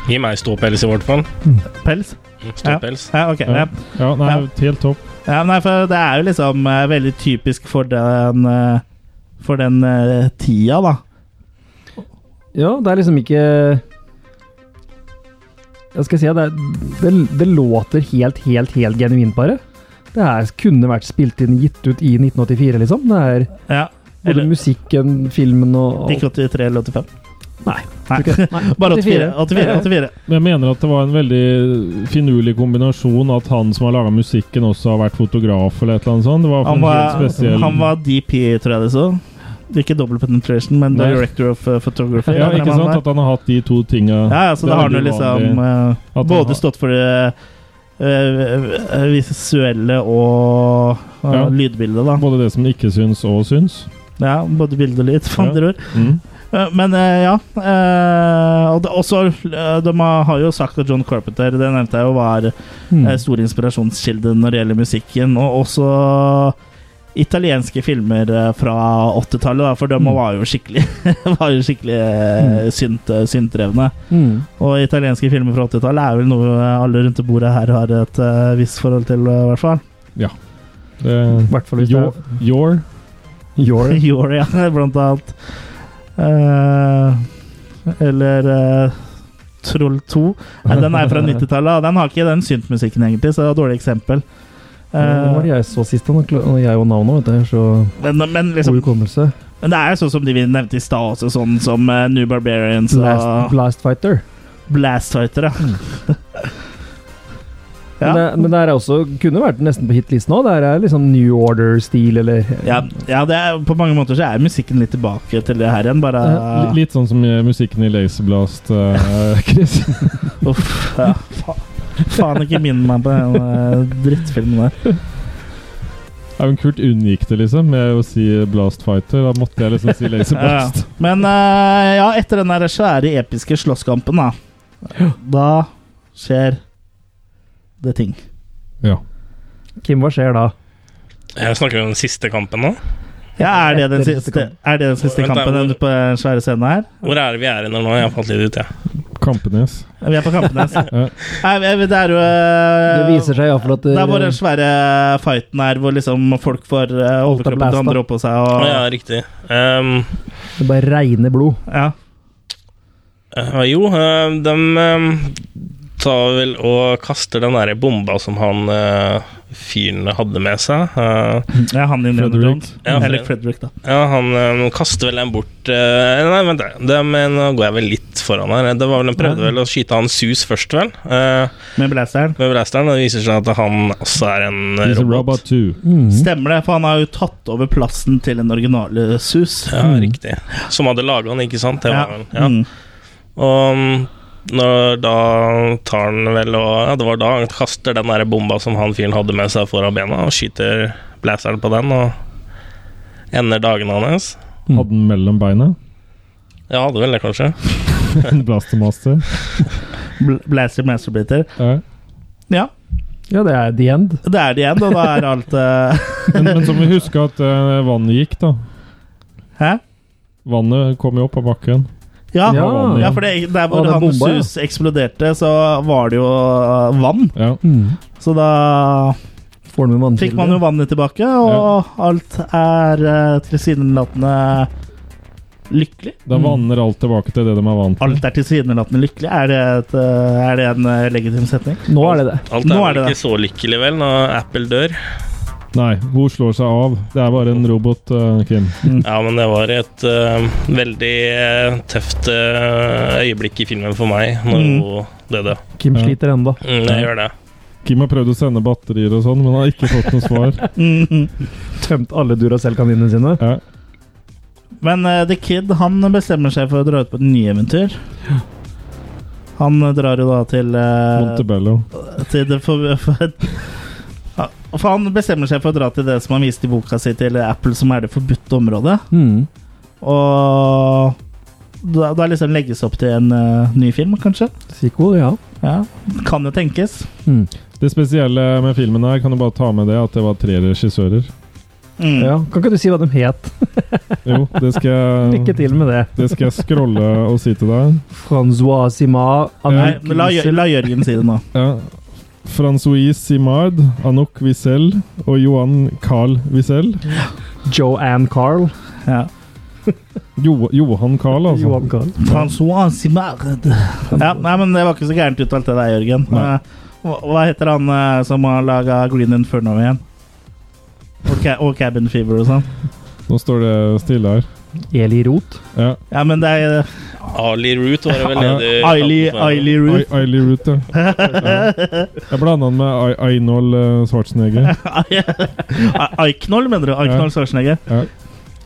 [SPEAKER 4] Gi meg ståpels, i hvert fall. Mm,
[SPEAKER 1] Pels?
[SPEAKER 4] Ståpels.
[SPEAKER 1] Ja, ok. Ja.
[SPEAKER 2] Ja, nei,
[SPEAKER 1] Ja.
[SPEAKER 2] helt topp.
[SPEAKER 1] Ja, nei, for det er jo liksom eh, veldig typisk for den eh, For den eh, tida, da.
[SPEAKER 3] Ja, det er liksom ikke Jeg skal si at det, er- det, det låter helt, helt, helt genuint, bare. Det her kunne vært spilt inn, gitt ut i 1984, liksom. Det er
[SPEAKER 1] Ja.
[SPEAKER 3] både
[SPEAKER 1] Eller
[SPEAKER 3] musikken, filmen og
[SPEAKER 1] ikke 83 eller 85.
[SPEAKER 3] Nei.
[SPEAKER 1] Nei. Bare 84. 84, 84.
[SPEAKER 2] Men Jeg mener at det var en veldig finurlig kombinasjon at han som har laga musikken, også har vært fotograf eller et eller annet sånt. Det var
[SPEAKER 1] Han
[SPEAKER 2] en
[SPEAKER 1] var,
[SPEAKER 2] helt spesiell
[SPEAKER 1] han var DP, tror jeg det så. Ikke double penetration, men
[SPEAKER 2] Nei.
[SPEAKER 1] director of eh, photography.
[SPEAKER 2] Ja,
[SPEAKER 1] eller
[SPEAKER 2] ikke
[SPEAKER 1] hva han
[SPEAKER 2] sant?
[SPEAKER 1] er.
[SPEAKER 2] At han har hatt de to tinga.
[SPEAKER 1] Ja, ja, så
[SPEAKER 2] Det
[SPEAKER 1] da
[SPEAKER 2] er
[SPEAKER 1] har han jo
[SPEAKER 2] veldig
[SPEAKER 1] liksom
[SPEAKER 2] vanlig
[SPEAKER 1] eh,
[SPEAKER 2] at han
[SPEAKER 1] både
[SPEAKER 2] har-
[SPEAKER 1] stått for det eh, visuelle og eh,
[SPEAKER 2] Ja.
[SPEAKER 1] lydbildet, da.
[SPEAKER 2] Både det som ikke syns og syns.
[SPEAKER 1] Ja, både bilde og lyd, for
[SPEAKER 2] Ja.
[SPEAKER 1] andre ord.
[SPEAKER 2] Mm.
[SPEAKER 1] Eh, Men eh, ja eh, Og det, også, eh, de har- har jo sagt at John Carpenter Det nevnte jeg jo var
[SPEAKER 3] Mm.
[SPEAKER 1] eh, stor inspirasjonskilde når det gjelder musikken. Og også italienske filmer eh, fra 80-tallet, da, for de var jo skikkelig Var jo skikkelig eh, synt, syntdrevne.
[SPEAKER 3] Mm.
[SPEAKER 1] Og italienske filmer fra 80-tallet er vel noe eh, alle rundt det bordet her har et eh, visst forhold til, eh, i hvert fall.
[SPEAKER 2] Det,
[SPEAKER 3] I hvert fall hvis det
[SPEAKER 2] your,
[SPEAKER 3] er
[SPEAKER 2] your
[SPEAKER 3] Your
[SPEAKER 1] Yoria, blant annet. Eh, eller eh, Troll 2. Nei, den er fra 90-tallet, og den har ikke den syntmusikken, egentlig, så det var et dårlig eksempel. Eh,
[SPEAKER 3] Hva var det jeg så sist? da? Når jeg og Nano vet du, så
[SPEAKER 1] men, men,
[SPEAKER 3] god
[SPEAKER 1] liksom,
[SPEAKER 3] hukommelse.
[SPEAKER 1] men det er jo sånn som de vi nevnte i stad, også, sånn som eh, New Barbarians
[SPEAKER 3] Blast,
[SPEAKER 1] og
[SPEAKER 3] Blast Fighter.
[SPEAKER 1] Blast Fighter. Ja.
[SPEAKER 3] Men, eh,
[SPEAKER 1] Ja.
[SPEAKER 3] det, men det er også kunne vært nesten på hitlisten òg. Det er liksom New Order-stil, eller
[SPEAKER 1] Ja, ja det er, på mange måter så er musikken litt tilbake til det her igjen, bare
[SPEAKER 2] Li- Litt sånn som eh, musikken i Laserblast, eh, Chris.
[SPEAKER 1] Uff, ja. Fa faen ikke minn meg på den eh, drittfilmen der.
[SPEAKER 2] Ja, men Kurt unngikk det, liksom, med å si Blast Fighter. Da måtte jeg liksom si Laserblast.
[SPEAKER 1] Men eh, ja, etter den der svære episke slåsskampen, da Da skjer det ting.
[SPEAKER 2] Ja.
[SPEAKER 3] Kim, hva skjer da?
[SPEAKER 4] Jeg snakker jo om den siste kampen nå.
[SPEAKER 1] Ja, er det den
[SPEAKER 3] Etter
[SPEAKER 1] siste, er det den siste
[SPEAKER 4] Vent da,
[SPEAKER 1] kampen
[SPEAKER 4] hvor-
[SPEAKER 1] på den svære scenen her?
[SPEAKER 4] Hvor er det vi er nå? Jeg har falt litt ut, jeg.
[SPEAKER 2] Kampenes.
[SPEAKER 1] Vi er på Kampenes.
[SPEAKER 2] Ja.
[SPEAKER 1] Nei, men det er jo eh,
[SPEAKER 3] Det viser seg iallfall at
[SPEAKER 1] Det er bare den svære fighten her hvor liksom folk får eh, overkroppen til
[SPEAKER 3] blasta.
[SPEAKER 1] andre oppå seg
[SPEAKER 4] Å
[SPEAKER 1] og
[SPEAKER 4] ja, riktig. Ehm,
[SPEAKER 3] det bare regner blod.
[SPEAKER 1] ja.
[SPEAKER 4] eh, jo, eh, de ehm, tar vel og kaster den derre bomba som han eh, fyren hadde med seg. Eh,
[SPEAKER 1] Ja, han i Indiana
[SPEAKER 2] Frederick.
[SPEAKER 1] Jones.
[SPEAKER 4] Ja,
[SPEAKER 1] Eller Frederick,
[SPEAKER 4] Frederick.
[SPEAKER 1] da.
[SPEAKER 4] ja, han ehm, kaster vel den bort eh, Nei, vent, da. Det- men nå går jeg vel litt foran her. Det var vel, De prøvde vel å skyte han Sus først, vel, eh,
[SPEAKER 1] Med blasteren.
[SPEAKER 4] med blasteren. Og det viser seg at han også er en eh,
[SPEAKER 2] He's a
[SPEAKER 4] robot.
[SPEAKER 2] robot too.
[SPEAKER 3] Mm.
[SPEAKER 1] Stemmer det, for han har jo tatt over plassen til den originale Sus.
[SPEAKER 4] Ja, riktig. Som hadde laga han, ikke sant? Det var, vel- ja.
[SPEAKER 1] Mm.
[SPEAKER 4] Og mm, når da tar han vel og Ja, det var da han kaster den der bomba som han fyren hadde med seg foran bena, og skyter blasteren på den, og ender dagene hans.
[SPEAKER 3] Mm.
[SPEAKER 2] Hadde den mellom beina.
[SPEAKER 4] Ja, hadde vel det, kanskje.
[SPEAKER 2] Blastermaster.
[SPEAKER 1] Bl- Blaster Masterbeater.
[SPEAKER 2] Ja.
[SPEAKER 1] Ja,
[SPEAKER 3] Ja, det er the end.
[SPEAKER 1] det er det igjen, og da er alt eh,
[SPEAKER 2] Men, men så må vi huske at eh, vannet gikk, da.
[SPEAKER 1] Hæ?
[SPEAKER 2] Vannet kom jo opp av bakken.
[SPEAKER 1] Ja, Ah, ja.
[SPEAKER 3] Ja.
[SPEAKER 1] for det, der
[SPEAKER 3] Og
[SPEAKER 1] hvor
[SPEAKER 3] den
[SPEAKER 1] han
[SPEAKER 3] bomba, ja.
[SPEAKER 1] Sus eksploderte, så var det jo eh, vann.
[SPEAKER 2] Ja.
[SPEAKER 3] Mm.
[SPEAKER 1] Så da
[SPEAKER 3] Får den med
[SPEAKER 1] fikk man jo
[SPEAKER 3] vannfilter.
[SPEAKER 1] vannet tilbake, og alt er eh, tilsynelatende lykkelig.
[SPEAKER 2] Da
[SPEAKER 3] Mm.
[SPEAKER 2] vanner alt tilbake til det de er vant til.
[SPEAKER 1] Alt er tilsynelatende lykkelig. Er det, et, eh, er det en eh, legitim setning?
[SPEAKER 3] Nå er det det.
[SPEAKER 4] Alt er,
[SPEAKER 1] Nå er
[SPEAKER 4] vel
[SPEAKER 1] det
[SPEAKER 4] ikke så lykkelig, vel, når Apple dør.
[SPEAKER 2] Nei, hvor slår seg av? Det er bare en robot, eh, Kim.
[SPEAKER 4] Ja, men det var et eh, veldig eh, tøft eh, øyeblikk i filmen for meg når
[SPEAKER 1] Mm.
[SPEAKER 4] hun døde.
[SPEAKER 3] Kim
[SPEAKER 2] Ja.
[SPEAKER 3] sliter ennå.
[SPEAKER 4] Mm, jeg gjør det.
[SPEAKER 2] Kim har prøvd å sende batterier og sånn, men har ikke fått noe svar.
[SPEAKER 1] Mhm.
[SPEAKER 3] Tømt alle Duracell-kaninene sine.
[SPEAKER 2] Ja.
[SPEAKER 1] Men eh, The Kid han bestemmer seg for å dra ut på et nyeventyr. Han eh, drar jo da til, eh,
[SPEAKER 2] Montebello.
[SPEAKER 1] til det for, for, Ja, for Han bestemmer seg for å dra til det som han viste i boka si til Apple, som er det forbudte området.
[SPEAKER 3] Mm.
[SPEAKER 1] Og da, da liksom legges opp til en eh, ny film, kanskje.
[SPEAKER 3] Sequel, ja.
[SPEAKER 1] Ja, Kan jo tenkes.
[SPEAKER 3] Mm.
[SPEAKER 2] Det spesielle med filmen her, kan du bare ta med det, at det var tre regissører.
[SPEAKER 1] Mm.
[SPEAKER 3] ja. Kan ikke du si hva de het?
[SPEAKER 2] Jo, det skal jeg
[SPEAKER 3] Lykke til med det.
[SPEAKER 2] Det skal jeg scrolle og si til deg.
[SPEAKER 3] Francois Sima,
[SPEAKER 1] Nei,
[SPEAKER 3] Anouk
[SPEAKER 1] men la, Jør-
[SPEAKER 3] Wiesel,
[SPEAKER 1] la Jørgen si det nå.
[SPEAKER 2] Ja. Francois Simard, Anouk Wiesel og Johan Carl Wiesel.
[SPEAKER 3] Joanne Carl.
[SPEAKER 1] Ja.
[SPEAKER 2] Jo, Johan Carl, altså.
[SPEAKER 3] Johan Carl.
[SPEAKER 1] Francois Simard. Ja, nei, men det var ikke så gærent uttalt, det der, Jørgen.
[SPEAKER 2] Nei.
[SPEAKER 1] Eh, Hva, hva heter han eh, som har laga Green Inferno igjen? Og, ca og Cabin Fever og sånn.
[SPEAKER 2] Nå står det stille her.
[SPEAKER 3] Eli Roth.
[SPEAKER 2] Ja.
[SPEAKER 1] Ja, men det er eh,
[SPEAKER 4] Ali Root var det vel
[SPEAKER 2] Ja.
[SPEAKER 4] det du
[SPEAKER 1] Ailey
[SPEAKER 4] kalte den for.
[SPEAKER 1] Ailey
[SPEAKER 2] Ai-
[SPEAKER 1] Ruth.
[SPEAKER 2] Ailey Root, ja. ja. Jeg blanda den med Ai- Einhold eh, Schwarzenegger.
[SPEAKER 1] A- Aiknoll, mener du?
[SPEAKER 2] Ja.
[SPEAKER 1] Aiknoll Schwarzenegger.
[SPEAKER 2] Ja.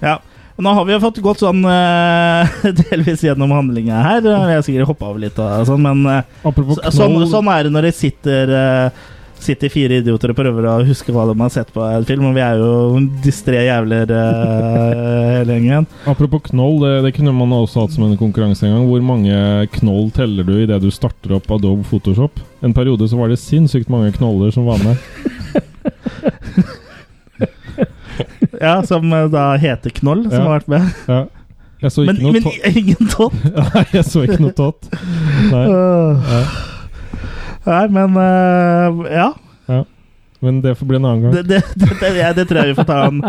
[SPEAKER 1] Ja. Nå har vi jo fått gått sånn eh, delvis gjennom handlinga her. Vi har sikkert hoppa over litt, og sånn, men eh,
[SPEAKER 2] Apropos
[SPEAKER 1] så, sånn,
[SPEAKER 2] knoll
[SPEAKER 1] sånn er det når det sitter eh, Sitter fire idioter og prøver å huske hva de har sett på en film. Og vi er jo distré jævler eh, hele gjengen.
[SPEAKER 2] Apropos knoll, det, det kunne man også hatt som en konkurranse en gang. Hvor mange knoll teller du idet du starter opp Adobe Photoshop? En periode så var det sinnssykt mange knoller som var med.
[SPEAKER 1] Ja, som eh, da heter Knoll, som
[SPEAKER 2] Ja.
[SPEAKER 1] har vært med.
[SPEAKER 2] Ja. Jeg så
[SPEAKER 1] Men,
[SPEAKER 2] ikke noe
[SPEAKER 1] men
[SPEAKER 2] tott.
[SPEAKER 1] ingen tott.
[SPEAKER 2] Nei, jeg så ikke noe tott. Nei.
[SPEAKER 1] Øh.
[SPEAKER 2] Ja.
[SPEAKER 1] Nei, men eh, ja.
[SPEAKER 2] Men det får bli en annen gang.
[SPEAKER 1] Det, det, det, det, ja, det tror jeg vi får ta en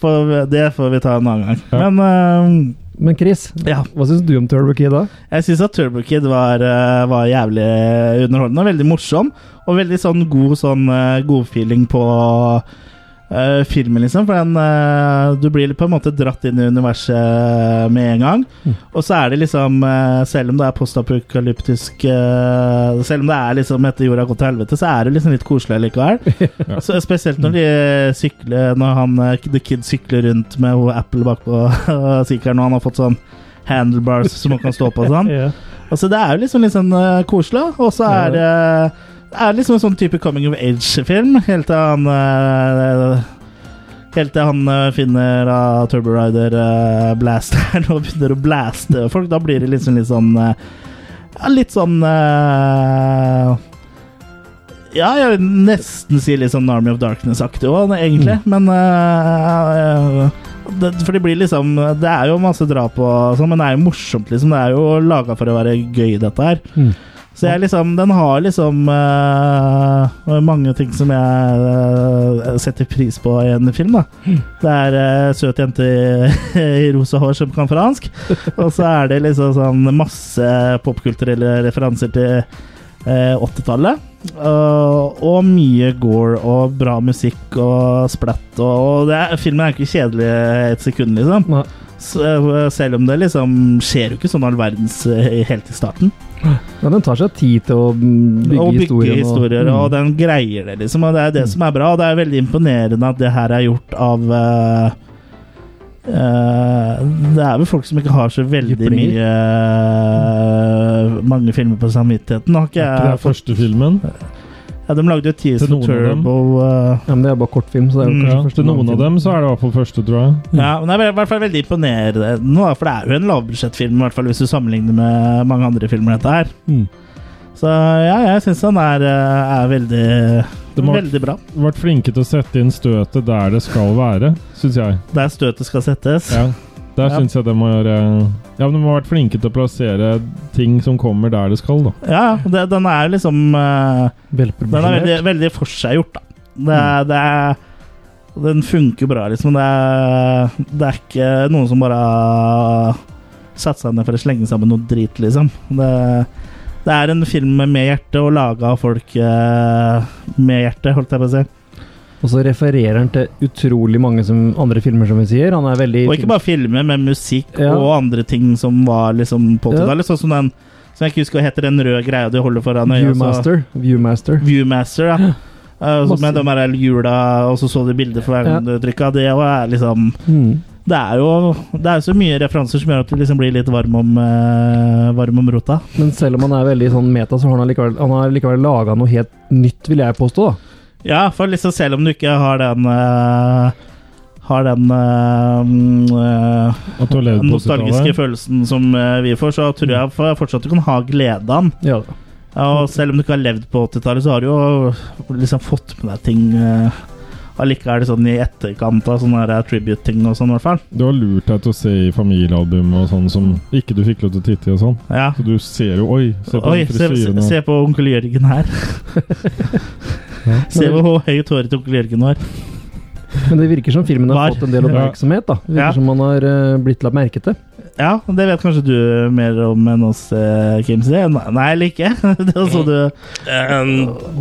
[SPEAKER 1] for, Det får vi ta en annen gang.
[SPEAKER 2] Ja.
[SPEAKER 1] Men eh,
[SPEAKER 3] Men Chris,
[SPEAKER 1] Ja.
[SPEAKER 3] hva syns du om Turbo Kid da?
[SPEAKER 1] Jeg syns at Turbo Kid var, eh, var jævlig underholdende. Veldig morsom, og veldig sånn god sånn eh, godfeeling på eh, filmen, liksom. For den, eh, du blir på en måte dratt inn i universet med en gang. Og så er det liksom eh, Selv om det er postapokalyptisk eh, Selv om det er liksom etter jorda har gått til helvete, så er det liksom litt koselig likevel. Så spesielt når de sykler Når han, eh, The Kid sykler rundt med hun Apple bakpå sykkelen, og han har fått sånn handlebars som han kan stå på og sånn.
[SPEAKER 3] Ja.
[SPEAKER 1] Altså, det er jo liksom litt sånn eh, koselig, og så er det det er liksom en sånn type coming of age-film, helt til han eh, Helt til han eh, finner uh, Turbo Rider-blasteren og begynner å blaste folk. Da blir det liksom litt sånn eh, ja, Litt sånn eh, Ja, jeg vil nesten si litt sånn Army of Darkness-aktig òg, egentlig. Men eh, det, For det blir liksom Det er jo masse drap og sånn, men det er jo morsomt, liksom. Det er jo laga for å være gøy, dette her.
[SPEAKER 3] Mm.
[SPEAKER 1] Så jeg liksom Den har liksom eh, mange ting som jeg eh, setter pris på i en film, da. Det er eh, søt jente i, i rosa hår som kan fransk, og så er det liksom sånn masse popkulturelle referanser til eh, 80-tallet. Og- og mye gore og bra musikk og splatt. Og, og det er, filmen er ikke kjedelig et sekund, liksom.
[SPEAKER 3] Nei.
[SPEAKER 1] Så, eh, selv om det liksom skjer jo ikke sånn all verdens eh, helt i starten.
[SPEAKER 3] Ja, den tar seg tid til å mm, bygge,
[SPEAKER 1] og bygge
[SPEAKER 3] historien.
[SPEAKER 1] historier, og,
[SPEAKER 2] Mm.
[SPEAKER 1] den greier det, liksom. Og det er det som er bra. Og det er veldig imponerende at det her er gjort av eh, eh, det er vel folk som ikke har så veldig
[SPEAKER 3] Jyplinger.
[SPEAKER 1] mye eh, Mange filmer på samvittigheten. Har ikke
[SPEAKER 2] Det er
[SPEAKER 1] jeg
[SPEAKER 2] første filmen.
[SPEAKER 1] Mm. Ja, de lagde jo teaser
[SPEAKER 2] Til noen
[SPEAKER 1] for
[SPEAKER 2] av dem.
[SPEAKER 1] Turbo. eh,
[SPEAKER 3] ja, men det er bare kortfilm, så det er jo
[SPEAKER 1] Mm.
[SPEAKER 3] kanskje
[SPEAKER 2] Ja,
[SPEAKER 3] første
[SPEAKER 2] til noen
[SPEAKER 3] navn.
[SPEAKER 2] av dem så er det i hvert fall første, tror jeg.
[SPEAKER 1] ja, men Det er i hvert fall veldig imponerende, da, for det er jo en lavbudsjettfilm, i hvert fall hvis du sammenligner med mange andre filmer. dette her
[SPEAKER 2] Mm.
[SPEAKER 1] Så ja, jeg syns den er, eh, er veldig,
[SPEAKER 2] De har
[SPEAKER 1] veldig bra.
[SPEAKER 2] vært flinke til å sette inn støtet der det skal være, syns jeg.
[SPEAKER 1] Der støtet skal settes.
[SPEAKER 2] Ja. Der
[SPEAKER 1] Ja.
[SPEAKER 2] syns jeg de har eh, Ja, men de har vært flinke til å plassere ting som kommer der det skal, da.
[SPEAKER 1] Ja, det, den er jo liksom eh, Den er veldig, veldig forseggjort, da. Det, er- det er Den funker bra, liksom. Det er, det er ikke noen som bare satte seg ned for å slenge sammen noe drit, liksom. Det, det er en film med hjerte, og laga av folk eh, med hjerte, holdt jeg på å si.
[SPEAKER 3] Og så refererer han til utrolig mange som, andre filmer, som vi sier. Han er veldig
[SPEAKER 1] Og ikke bare filmer, men musikk
[SPEAKER 3] Ja.
[SPEAKER 1] og andre ting som var liksom på 80-tallet. Sånn som den som jeg ikke husker hva heter, den røde greia du holder foran øyet. altså.
[SPEAKER 3] Viewmaster. Viewmaster.
[SPEAKER 1] Viewmaster, ja. Eh, så
[SPEAKER 3] Masse.
[SPEAKER 1] med de her hjula, og så så du bilder for hver gang du trykka. Det og er liksom
[SPEAKER 3] Mm.
[SPEAKER 1] Det er jo Det er jo så mye referanser som gjør at du liksom blir litt varm om, eh, varm om rota.
[SPEAKER 3] Men selv om han er veldig sånn meta, så har han likevel, han har likevel laga noe helt nytt, vil jeg påstå. da.
[SPEAKER 1] Ja, for liksom selv om du ikke har den eh, har den eh, mm, eh,
[SPEAKER 2] At du har levd på
[SPEAKER 1] nostalgiske
[SPEAKER 2] 80-tallet.
[SPEAKER 1] følelsen som eh, vi får, så tror jeg for- fortsatt du kan ha glede av den.
[SPEAKER 3] Ja,
[SPEAKER 1] Ja, Og selv om du ikke har levd på 80-tallet, så har du jo liksom fått med deg ting eh, allikevel sånn i etterkant av sånne her tribute-ting og sånn, i hvert fall.
[SPEAKER 2] Du har lurt deg til å se i familiealbum og sånn som ikke du fikk lov til å titte i og sånn.
[SPEAKER 1] Ja.
[SPEAKER 2] Så du ser jo Oi, se på
[SPEAKER 1] Oi,
[SPEAKER 2] den
[SPEAKER 1] se, se,
[SPEAKER 2] frisyren. og-
[SPEAKER 1] se på onkel Jørgen her. se hvor høyt håret til onkel Jørgen var.
[SPEAKER 3] Men det virker som filmen har
[SPEAKER 1] Var.
[SPEAKER 3] fått en del oppmerksomhet. da. Det virker
[SPEAKER 1] Ja.
[SPEAKER 3] som han har eh, blitt lagt merke til.
[SPEAKER 1] Ja, det vet kanskje du mer om enn oss, eh, Kim. Se. Nei, eller ikke. det så du
[SPEAKER 4] Eh,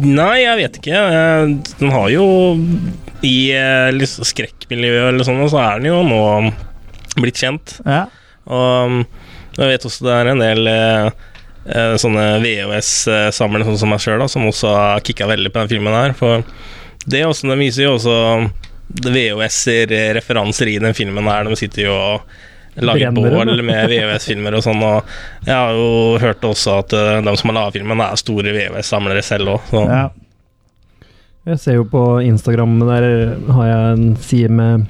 [SPEAKER 4] nei, jeg vet ikke. Eh, den har jo I eh, liksom skrekkmiljøet eller sånn, så er den jo nå blitt kjent.
[SPEAKER 1] Ja.
[SPEAKER 4] Og um, jeg vet også det er en del eh, eh, sånne VHS-samlere sånn som meg sjøl, som også har kicka veldig på den filmen her. For det er også, den viser jo også um, VHS-referanser eh, i den filmen her. De sitter jo og lager
[SPEAKER 3] Brenner den,
[SPEAKER 4] bål med VHS-filmer og sånn. Og jeg har jo hørt også at eh, de som har laga filmen, er store VHS-samlere selv òg. Så
[SPEAKER 1] ja.
[SPEAKER 3] Jeg ser jo på Instagram, der har jeg en side med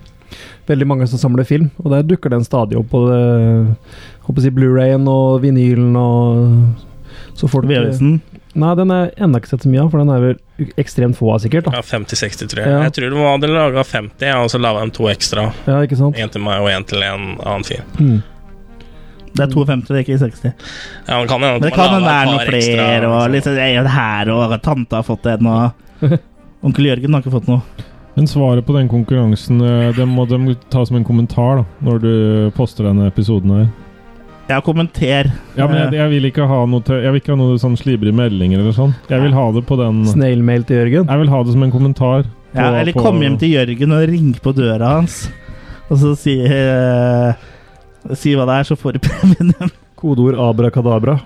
[SPEAKER 3] veldig mange som samler film, og der dukker den stadig opp på det- håper jeg å si Blu-rayen og vinylen og så eh, folk,
[SPEAKER 1] VHS-en.
[SPEAKER 3] Nei, den er ennå ikke sett så mye av, for den er vel ekstremt få av, sikkert. da.
[SPEAKER 4] ja, 50-60, tror jeg.
[SPEAKER 3] Ja.
[SPEAKER 4] Jeg tror de hadde laga 50, jeg, og så laga de to ekstra.
[SPEAKER 3] Ja, ikke sant?
[SPEAKER 4] Én til meg og én til en annen fyr.
[SPEAKER 3] Mm.
[SPEAKER 1] Det er 52, det er ikke 60.
[SPEAKER 4] Ja, men kan hende
[SPEAKER 1] Men
[SPEAKER 4] at
[SPEAKER 1] det
[SPEAKER 4] de
[SPEAKER 1] kan
[SPEAKER 4] har
[SPEAKER 1] hende det
[SPEAKER 4] laget
[SPEAKER 1] er
[SPEAKER 4] et
[SPEAKER 1] noen
[SPEAKER 4] par ekstra,
[SPEAKER 1] flere, og
[SPEAKER 4] liksom.
[SPEAKER 1] liksom, jeg gjør det her, og tante har fått en, og Onkel Jørgen har ikke fått noe.
[SPEAKER 2] Men svaret på den konkurransen eh, det må de ta som en kommentar da, når du poster denne episoden her.
[SPEAKER 1] Ja, kommenter.
[SPEAKER 2] Ja, men jeg, jeg vil ikke ha noe, til, jeg vil ikke ha noe sånn slibrig meldinger eller sånn. Jeg vil ha det på den
[SPEAKER 3] Snailmail til Jørgen.
[SPEAKER 2] Jeg vil ha det som en kommentar.
[SPEAKER 1] Ja,
[SPEAKER 2] på-
[SPEAKER 1] eller
[SPEAKER 2] på-
[SPEAKER 1] kom hjem til Jørgen og ring på døra hans, og så si eh, Si hva det er, så får du premien.
[SPEAKER 3] Kodeord abrakadabra.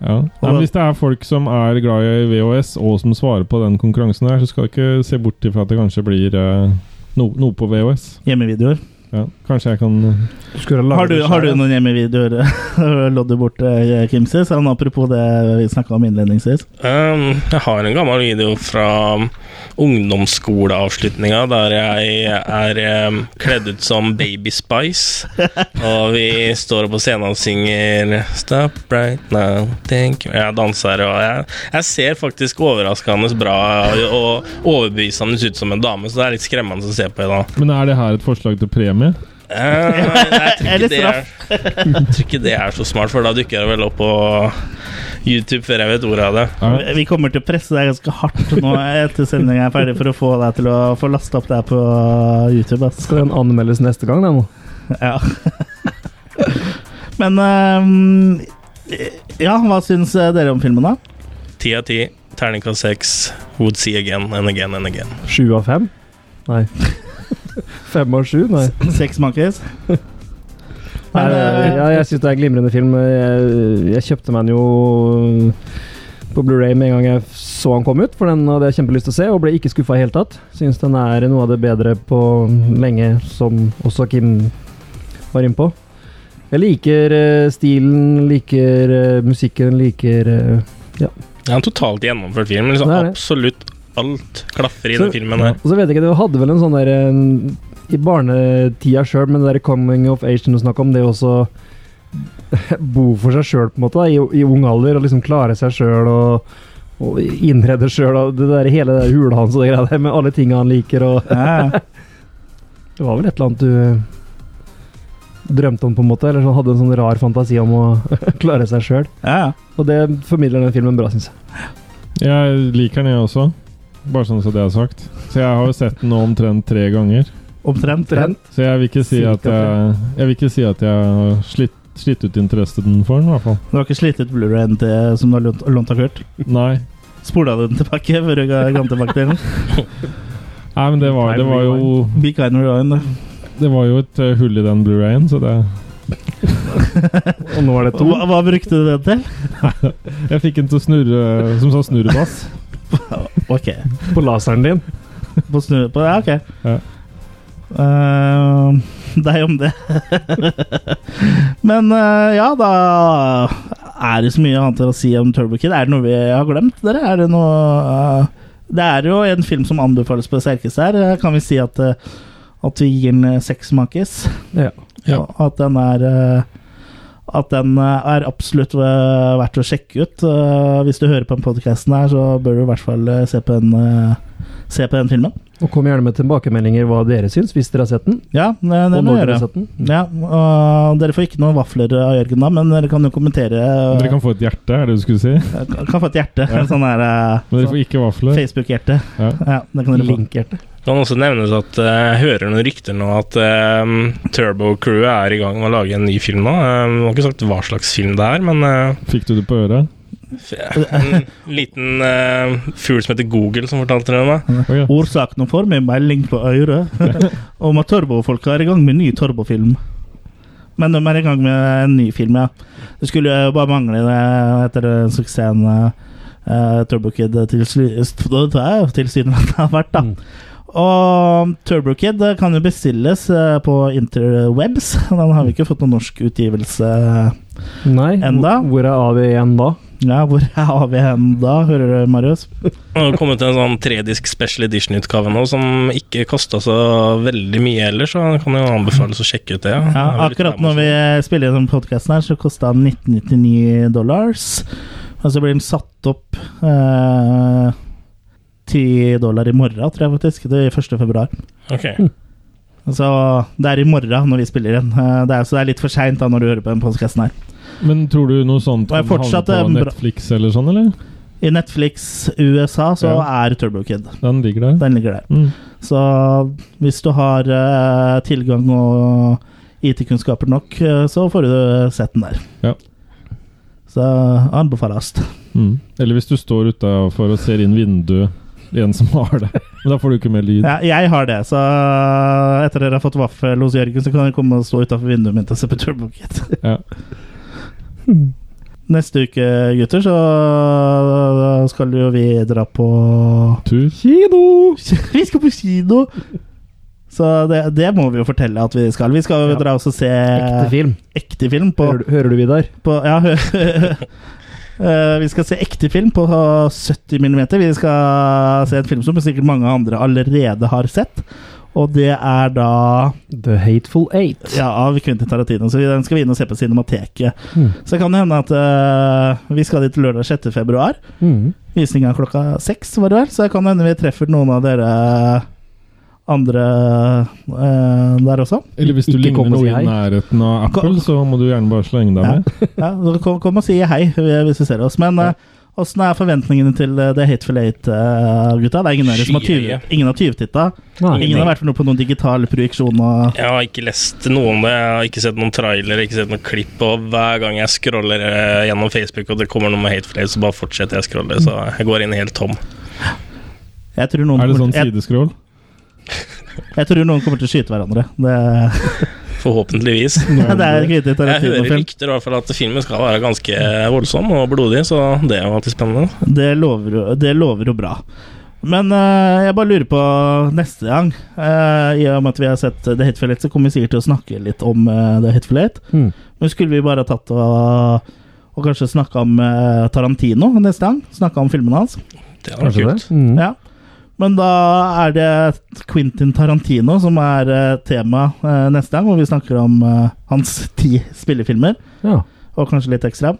[SPEAKER 2] Ja. Nei, men hvis det er folk som er glad i VHS, og som svarer på den konkurransen her, så skal du ikke se bort ifra at det kanskje blir eh, no, noe på VHS.
[SPEAKER 1] Hjemmevideoer.
[SPEAKER 2] Ja. Kanskje jeg kan eh.
[SPEAKER 3] Du skulle lage
[SPEAKER 1] Har du,
[SPEAKER 3] det
[SPEAKER 1] har du
[SPEAKER 3] selv.
[SPEAKER 1] noen hjemmevideoer? Lodder bort eh, Kimsey? Sånn, apropos det vi snakka om innledningsvis.
[SPEAKER 4] Um, jeg har en gammel video fra um, ungdomsskoleavslutninga der jeg er um, kledd ut som Baby Spice. Og vi står på scenen og synger 'Stop right now, thank you'. Jeg danser, og jeg, jeg ser faktisk overraskende bra og overbevisende ut som en dame, så det er litt skremmende å se på i dag.
[SPEAKER 2] Men er det her et forslag til premie?
[SPEAKER 4] Eh, jeg tror
[SPEAKER 1] Eller
[SPEAKER 4] ikke det er- Jeg tror ikke det er så smart, for da dukker det vel opp på YouTube før jeg vet ordet av det.
[SPEAKER 2] Ja.
[SPEAKER 1] Vi kommer til å presse deg ganske hardt nå etter sendinga er ferdig, for å få deg til å få lasta opp det her på YouTube. Ass.
[SPEAKER 3] Skal den anmeldes neste gang, den?
[SPEAKER 1] Ja. Men ehm, Ja, hva syns dere om filmen, da?
[SPEAKER 4] Ti av ti, terningkast seks, would see again and again and again.
[SPEAKER 3] Sju av fem? Nei. Fem av sju? Nei.
[SPEAKER 1] Seks monkeys?
[SPEAKER 3] Nei,
[SPEAKER 1] Men, eh,
[SPEAKER 3] ja, jeg syns det er en glimrende film. Jeg, jeg kjøpte meg den jo på Blu-ray med en gang jeg så han kom ut, for den hadde jeg kjempelyst til å se, og ble ikke skuffa i det hele tatt. Syns den er noe av det bedre på lenge, som også Kim var inne på. Jeg liker eh, stilen, liker eh, musikken, liker eh,
[SPEAKER 4] Det er en totalt gjennomført film. Liksom
[SPEAKER 3] Det er det.
[SPEAKER 4] absolutt alt klaffer i
[SPEAKER 3] Så-
[SPEAKER 4] den filmen her.
[SPEAKER 3] Og så vet jeg ikke, det hadde vel en sånn der en- I barnetida sjøl, men det der coming of age som du snakker om, det å også bo for seg sjøl, på en måte, da, i, i ung alder, og liksom klare seg sjøl og, og innrede sjøl, og det der hele det der hula hans og det greia der, med alle tinga han liker, og
[SPEAKER 1] Ja.
[SPEAKER 3] Det var vel et eller annet du drømte om, på en måte, eller så hadde en sånn rar fantasi om å klare seg sjøl.
[SPEAKER 1] ja.
[SPEAKER 3] Og det formidler den filmen bra, syns jeg.
[SPEAKER 2] Jeg liker den, jeg også. Bare sånn som det er sagt. Så jeg har jo sett den nå omtrent tre ganger.
[SPEAKER 1] Omtrent.
[SPEAKER 2] Så jeg vil ikke si
[SPEAKER 3] Cirka
[SPEAKER 2] at jeg, jeg, vil ikke si at jeg har slitt, slitt ut interessen for den, i hvert fall.
[SPEAKER 1] Du har ikke slitt ut Blu-rayen til- som du har lånt lånt av Kurt?
[SPEAKER 2] Nei.
[SPEAKER 1] Spola du den tilbake før du ga ga den tilbake til den?
[SPEAKER 2] Nei, men det var, det var jo
[SPEAKER 1] Be kind rewind, da.
[SPEAKER 2] Det var jo et eh, hull i den Blu-rayen, så det
[SPEAKER 3] Og nå er det to.
[SPEAKER 1] Hva, hva brukte du den til?
[SPEAKER 2] Jeg fikk den til å snurre som sa snurrebass.
[SPEAKER 1] Ok.
[SPEAKER 3] På laseren din.
[SPEAKER 1] På snu på Ja, ok.
[SPEAKER 2] Ja.
[SPEAKER 1] Eh, deg om det. Men eh, ja, da er det så mye annet å si om Turbo Kid. Er det noe vi har glemt, dere? Er det noe eh, Det er jo en film som anbefales på det sterkeste her. Eh, Kan vi si at, eh, at vi gir den eh, seks makis?
[SPEAKER 3] Ja.
[SPEAKER 2] Ja.
[SPEAKER 1] Og At den er eh, at den eh, er absolutt eh, verdt å sjekke ut. Eh, Hvis du hører på den podkasten her, så bør du i hvert fall eh, se på den, eh, se på den filmen.
[SPEAKER 3] Og kom gjerne med tilbakemeldinger hva dere syns, hvis dere har sett den.
[SPEAKER 1] Ja, det, det
[SPEAKER 3] og
[SPEAKER 1] må
[SPEAKER 3] når
[SPEAKER 1] vi
[SPEAKER 3] dere har
[SPEAKER 1] gjøre.
[SPEAKER 3] sett Mm. den.
[SPEAKER 1] Ja, og dere får ikke noen vafler av Jørgen, da, men dere kan jo kommentere.
[SPEAKER 2] Dere kan få et hjerte, er det du skulle si.
[SPEAKER 1] kan, få et hjerte. Sånn der eh,
[SPEAKER 2] Men dere får ikke vafler.
[SPEAKER 1] Facebook-hjerte.
[SPEAKER 2] Ja.
[SPEAKER 1] Ja, det kan dere få.
[SPEAKER 3] Linkhjerte.
[SPEAKER 4] Kan også nevnes at eh, jeg hører noen rykter nå at eh, Turbo Crew er i gang med å lage en ny film nå. Eh, Jeg har ikke sagt hva slags film det er, men eh,
[SPEAKER 2] Fikk du det på øret?
[SPEAKER 4] en liten eh, fugl som heter Google, som fortalte det meg.
[SPEAKER 2] Å ja.
[SPEAKER 1] Årsaken får meg melding på øret om at turbofolka er i gang med en ny turbofilm. Men de er i gang med en ny film, ja. Det skulle jo bare mangle det etter den suksessen uh, Turbokid tilsynelatende har vært, da.
[SPEAKER 3] Mm.
[SPEAKER 1] Og Turbokid kan jo bestilles eh, på interwebs. Den har vi ikke fått noen norsk utgivelse
[SPEAKER 3] Nei.
[SPEAKER 1] Enda?
[SPEAKER 3] Hvor er AV igjen da?
[SPEAKER 1] Ja, hvor er AVN da, hører du, Marius?
[SPEAKER 4] Det har kommet en sånn tredisk special edition-utgave nå som ikke kosta så veldig mye heller, så det kan jo anbefales å sjekke ut det.
[SPEAKER 1] Ja, akkurat når vi spiller den podkasten her, så kosta den 1999 dollars. Og så blir den satt opp eh, 10 dollar i morgen, tror jeg faktisk. Det er 1. februar.
[SPEAKER 4] Ok.
[SPEAKER 1] Så det er i morgen når vi spiller den. Eh, det er, så det er litt for seint når du hører på den podkasten her.
[SPEAKER 2] Men tror du noe sånt
[SPEAKER 1] Og jeg
[SPEAKER 2] kan havne
[SPEAKER 1] fortsatt
[SPEAKER 2] på
[SPEAKER 1] en bra-
[SPEAKER 2] Netflix eller sånn, eller?
[SPEAKER 1] I Netflix USA så
[SPEAKER 2] Ja.
[SPEAKER 1] er Turbo Kid.
[SPEAKER 2] Den ligger der.
[SPEAKER 1] Den ligger der.
[SPEAKER 2] Mm.
[SPEAKER 1] Så hvis du har eh, tilgang og IT-kunnskaper nok, eh, så får du sett den der.
[SPEAKER 2] Ja.
[SPEAKER 1] Så anbefales.
[SPEAKER 2] Mm. Eller hvis du står utafor og ser inn vinduet i en som har det. Men da får du ikke mer lyd.
[SPEAKER 1] Ja, jeg har det, så etter dere har fått vaffel hos Jørgen, så kan dere komme og stå utafor vinduet mitt og se på Turbo Kid.
[SPEAKER 2] Ja.
[SPEAKER 1] Neste uke, gutter, så skal jo vi dra på
[SPEAKER 2] Tur.
[SPEAKER 3] Kino!
[SPEAKER 1] Vi skal på kino! Så det, det må vi jo fortelle at vi skal. Vi skal jo
[SPEAKER 3] Ja.
[SPEAKER 1] dra oss og se
[SPEAKER 3] Ekte film.
[SPEAKER 1] ekte film Eh, på
[SPEAKER 3] Hører, du- hører du, Vidar?
[SPEAKER 1] på Ja, Eh, vi skal se ekte film på 70 mm. Vi skal se en film som sikkert mange andre allerede har sett. Og det er da
[SPEAKER 3] The Hateful Eight.
[SPEAKER 1] ja, av Quentin Tarantino. Så vi- den skal vi inn og se på Cinemateket.
[SPEAKER 3] Mm.
[SPEAKER 1] Så kan det hende at eh, vi skal dit lørdag 6. februar.
[SPEAKER 3] Mm.
[SPEAKER 1] Visninga klokka seks, var det vel? Så det kan hende vi treffer noen av dere andre eh, der også.
[SPEAKER 2] Eller hvis du
[SPEAKER 3] Ikke
[SPEAKER 2] ligner
[SPEAKER 3] kom og si
[SPEAKER 2] noe i
[SPEAKER 3] hei.
[SPEAKER 2] nærheten av Apple, så må du gjerne bare slenge deg
[SPEAKER 1] Ja.
[SPEAKER 2] med.
[SPEAKER 1] Ja, så kom, kom og si hei hvis du ser oss. Men eh, åssen er forventningene til eh, The Hateful Eight, eh, gutta? Det er ingen av dere som har tyv-
[SPEAKER 4] Skyhøye.
[SPEAKER 1] ingen har tyvtitta.
[SPEAKER 3] Nei.
[SPEAKER 1] Ingen har vært med noe på noen digital projeksjon. Og,
[SPEAKER 4] Jeg har ikke lest noe om det, jeg har ikke sett noen trailer, ikke sett noen klipp, og hver gang jeg scroller eh, gjennom Facebook og det kommer noe med hateful hate, så bare fortsetter jeg å scrolle, så jeg går inn helt tom.
[SPEAKER 1] jeg, tror noen
[SPEAKER 2] Er det sånn
[SPEAKER 1] kommer, til-
[SPEAKER 2] sideskrål?
[SPEAKER 1] jeg, jeg tror noen kommer til å skyte hverandre. Det,
[SPEAKER 4] Forhåpentligvis.
[SPEAKER 1] det er kvinnelig
[SPEAKER 4] Jeg hører
[SPEAKER 1] Tarantino-film.
[SPEAKER 4] rykter i hvert fall at filmen skal være ganske eh, voldsom og blodig, så det er jo alltid spennende.
[SPEAKER 1] Det lover, jo- det lover jo bra. Men eh, jeg bare lurer på neste gang. eh, I og med at vi har sett The Hateful Eight, så kommer vi sikkert til å snakke litt om eh, The Hateful Eight.
[SPEAKER 3] Mm.
[SPEAKER 1] Men skulle vi bare tatt og, og kanskje snakka om eh, Tarantino neste gang? Snakka om filmene hans?
[SPEAKER 4] Det er
[SPEAKER 3] Kanskje
[SPEAKER 4] kult.
[SPEAKER 3] det. Mm.
[SPEAKER 1] Ja. Men da er det Quentin Tarantino som er eh, tema eh, neste gang, hvor vi snakker om eh, hans ti spillefilmer,
[SPEAKER 3] Ja.
[SPEAKER 1] og kanskje litt ekstra.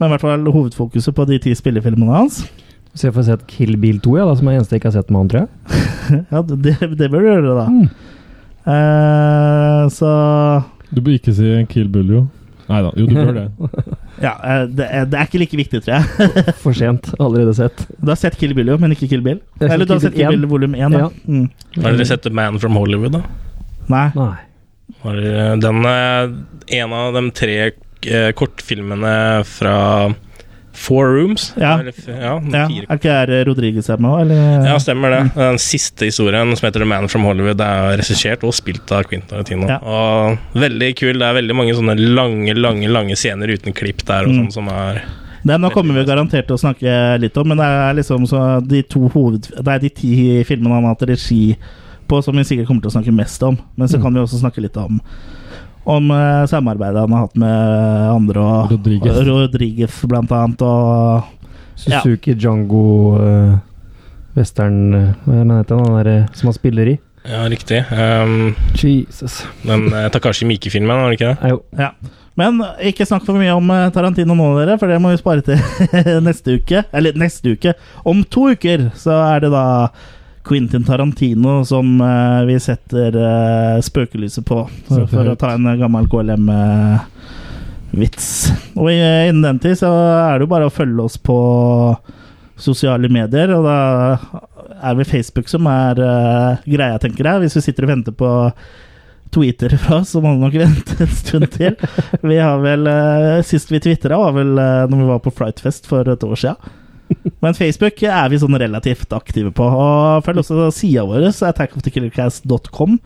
[SPEAKER 1] Men i hvert fall hovedfokuset på de ti spillefilmene hans.
[SPEAKER 3] Så jeg får sett Kill Bill 2, ja, da, som er eneste jeg ikke har sett med han, tror jeg.
[SPEAKER 1] Ja, Det, det bør du gjøre, da.
[SPEAKER 3] Mm.
[SPEAKER 1] Eh, så
[SPEAKER 2] Du bør ikke si Kill Bill, jo. Nei da, jo du bør det.
[SPEAKER 1] Ja, eh, det, er- det er ikke like viktig, tror jeg.
[SPEAKER 3] For sent. Allerede sett.
[SPEAKER 1] Du har sett Kill Bill, jo, men ikke Kill Bill.
[SPEAKER 3] Jeg har
[SPEAKER 1] Eller du har
[SPEAKER 3] sett
[SPEAKER 1] sett
[SPEAKER 3] Kill
[SPEAKER 1] Kill
[SPEAKER 3] Bill
[SPEAKER 1] Bill volum 1, ja.
[SPEAKER 3] Ja.
[SPEAKER 1] Mm.
[SPEAKER 4] Har dere sett The Man from Hollywood, da?
[SPEAKER 1] Nei.
[SPEAKER 3] Nei.
[SPEAKER 4] Har dere- Den er en av de tre eh, kortfilmene fra Four Rooms.
[SPEAKER 1] Ja.
[SPEAKER 4] Eller f- ja,
[SPEAKER 1] Ja, Mm.
[SPEAKER 4] fire.
[SPEAKER 1] er ikke det Rodriguez er med òg, eller?
[SPEAKER 4] ja, altså, stemmer det. Den siste historien, som heter The Man from Hollywood, det er regissert og spilt av Quentin Tarantino.
[SPEAKER 1] Ja.
[SPEAKER 4] Og veldig kul. Det er veldig mange sånne lange, lange lange scener uten klipp der og
[SPEAKER 1] Mm.
[SPEAKER 4] sånn som er
[SPEAKER 1] Den nå kommer vi jo garantert til å snakke litt om, men det er liksom så de to hoved... Det er de ti filmene han har hatt regi på, som vi sikkert kommer til å snakke mest om. Men
[SPEAKER 3] Mm.
[SPEAKER 1] så kan vi også snakke litt om om eh, samarbeidet han har hatt med andre. Og,
[SPEAKER 2] Rodriguez.
[SPEAKER 1] og Rodriguez, blant annet. Og
[SPEAKER 3] Suzuki Django eh, Western eh, Hva er det han heter han der eh, som han spiller i?
[SPEAKER 4] Ja, riktig. Um,
[SPEAKER 3] Jesus.
[SPEAKER 4] den eh, Takashi Miike-filmen, var det ikke det?
[SPEAKER 3] Nei, jo.
[SPEAKER 1] ja. Men ikke snakk for mye om eh, Tarantino nå, dere, for det må vi spare til neste uke. Eller neste uke. Om to uker så er det da Quentin Tarantino som eh, vi setter eh, spøkelyset på. Så
[SPEAKER 2] Setter
[SPEAKER 1] for å
[SPEAKER 2] høyt.
[SPEAKER 1] ta en eh, gammel KLM-vits. Og i- eh, innen den tid så er det jo bare å følge oss på sosiale medier, og da er vel Facebook som er eh, greia, tenker jeg. Hvis vi sitter og venter på tweeter fra oss, så må vi nok vente en stund til. Vi har vel, eh, Sist vi twitra, var vel uh, når vi var på Frightfest for et år sia. Men Facebook er vi sånn relativt aktive på. Og følg også sida vår, attackofthekillercast.com.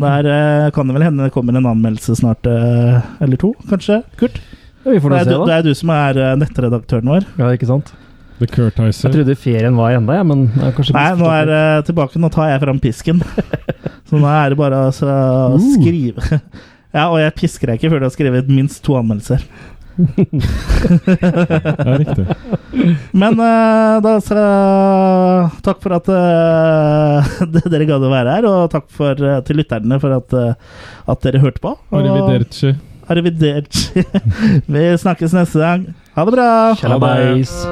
[SPEAKER 1] Der eh, kan det vel hende det kommer en anmeldelse snart, eh, eller to, kanskje? Kurt?
[SPEAKER 3] Ja, vi får
[SPEAKER 1] Det
[SPEAKER 3] nå
[SPEAKER 1] er,
[SPEAKER 3] se,
[SPEAKER 1] du, det
[SPEAKER 3] da.
[SPEAKER 1] er du som er eh, nettredaktøren vår.
[SPEAKER 3] Ja, ikke sant?
[SPEAKER 2] The Curtizer.
[SPEAKER 3] Jeg trodde ferien var enda, jeg, men jeg har kanskje
[SPEAKER 1] Nei, nå er
[SPEAKER 3] misforstått
[SPEAKER 1] det tilbake. Nå tar jeg fram pisken. Så nå er det bare å
[SPEAKER 3] Uh.
[SPEAKER 1] så- skrive. Ja, og jeg pisker deg ikke før du har skrevet minst to anmeldelser.
[SPEAKER 2] Ja, riktig.
[SPEAKER 1] Men eh, da så Takk for at eh, dere gadd å være her, og takk for, eh, til lytterne for at, eh, at dere hørte på. Og-
[SPEAKER 2] Arrivederci.
[SPEAKER 1] Arrivederci. Vi snakkes neste gang. Ha det bra!
[SPEAKER 3] Kjellabais.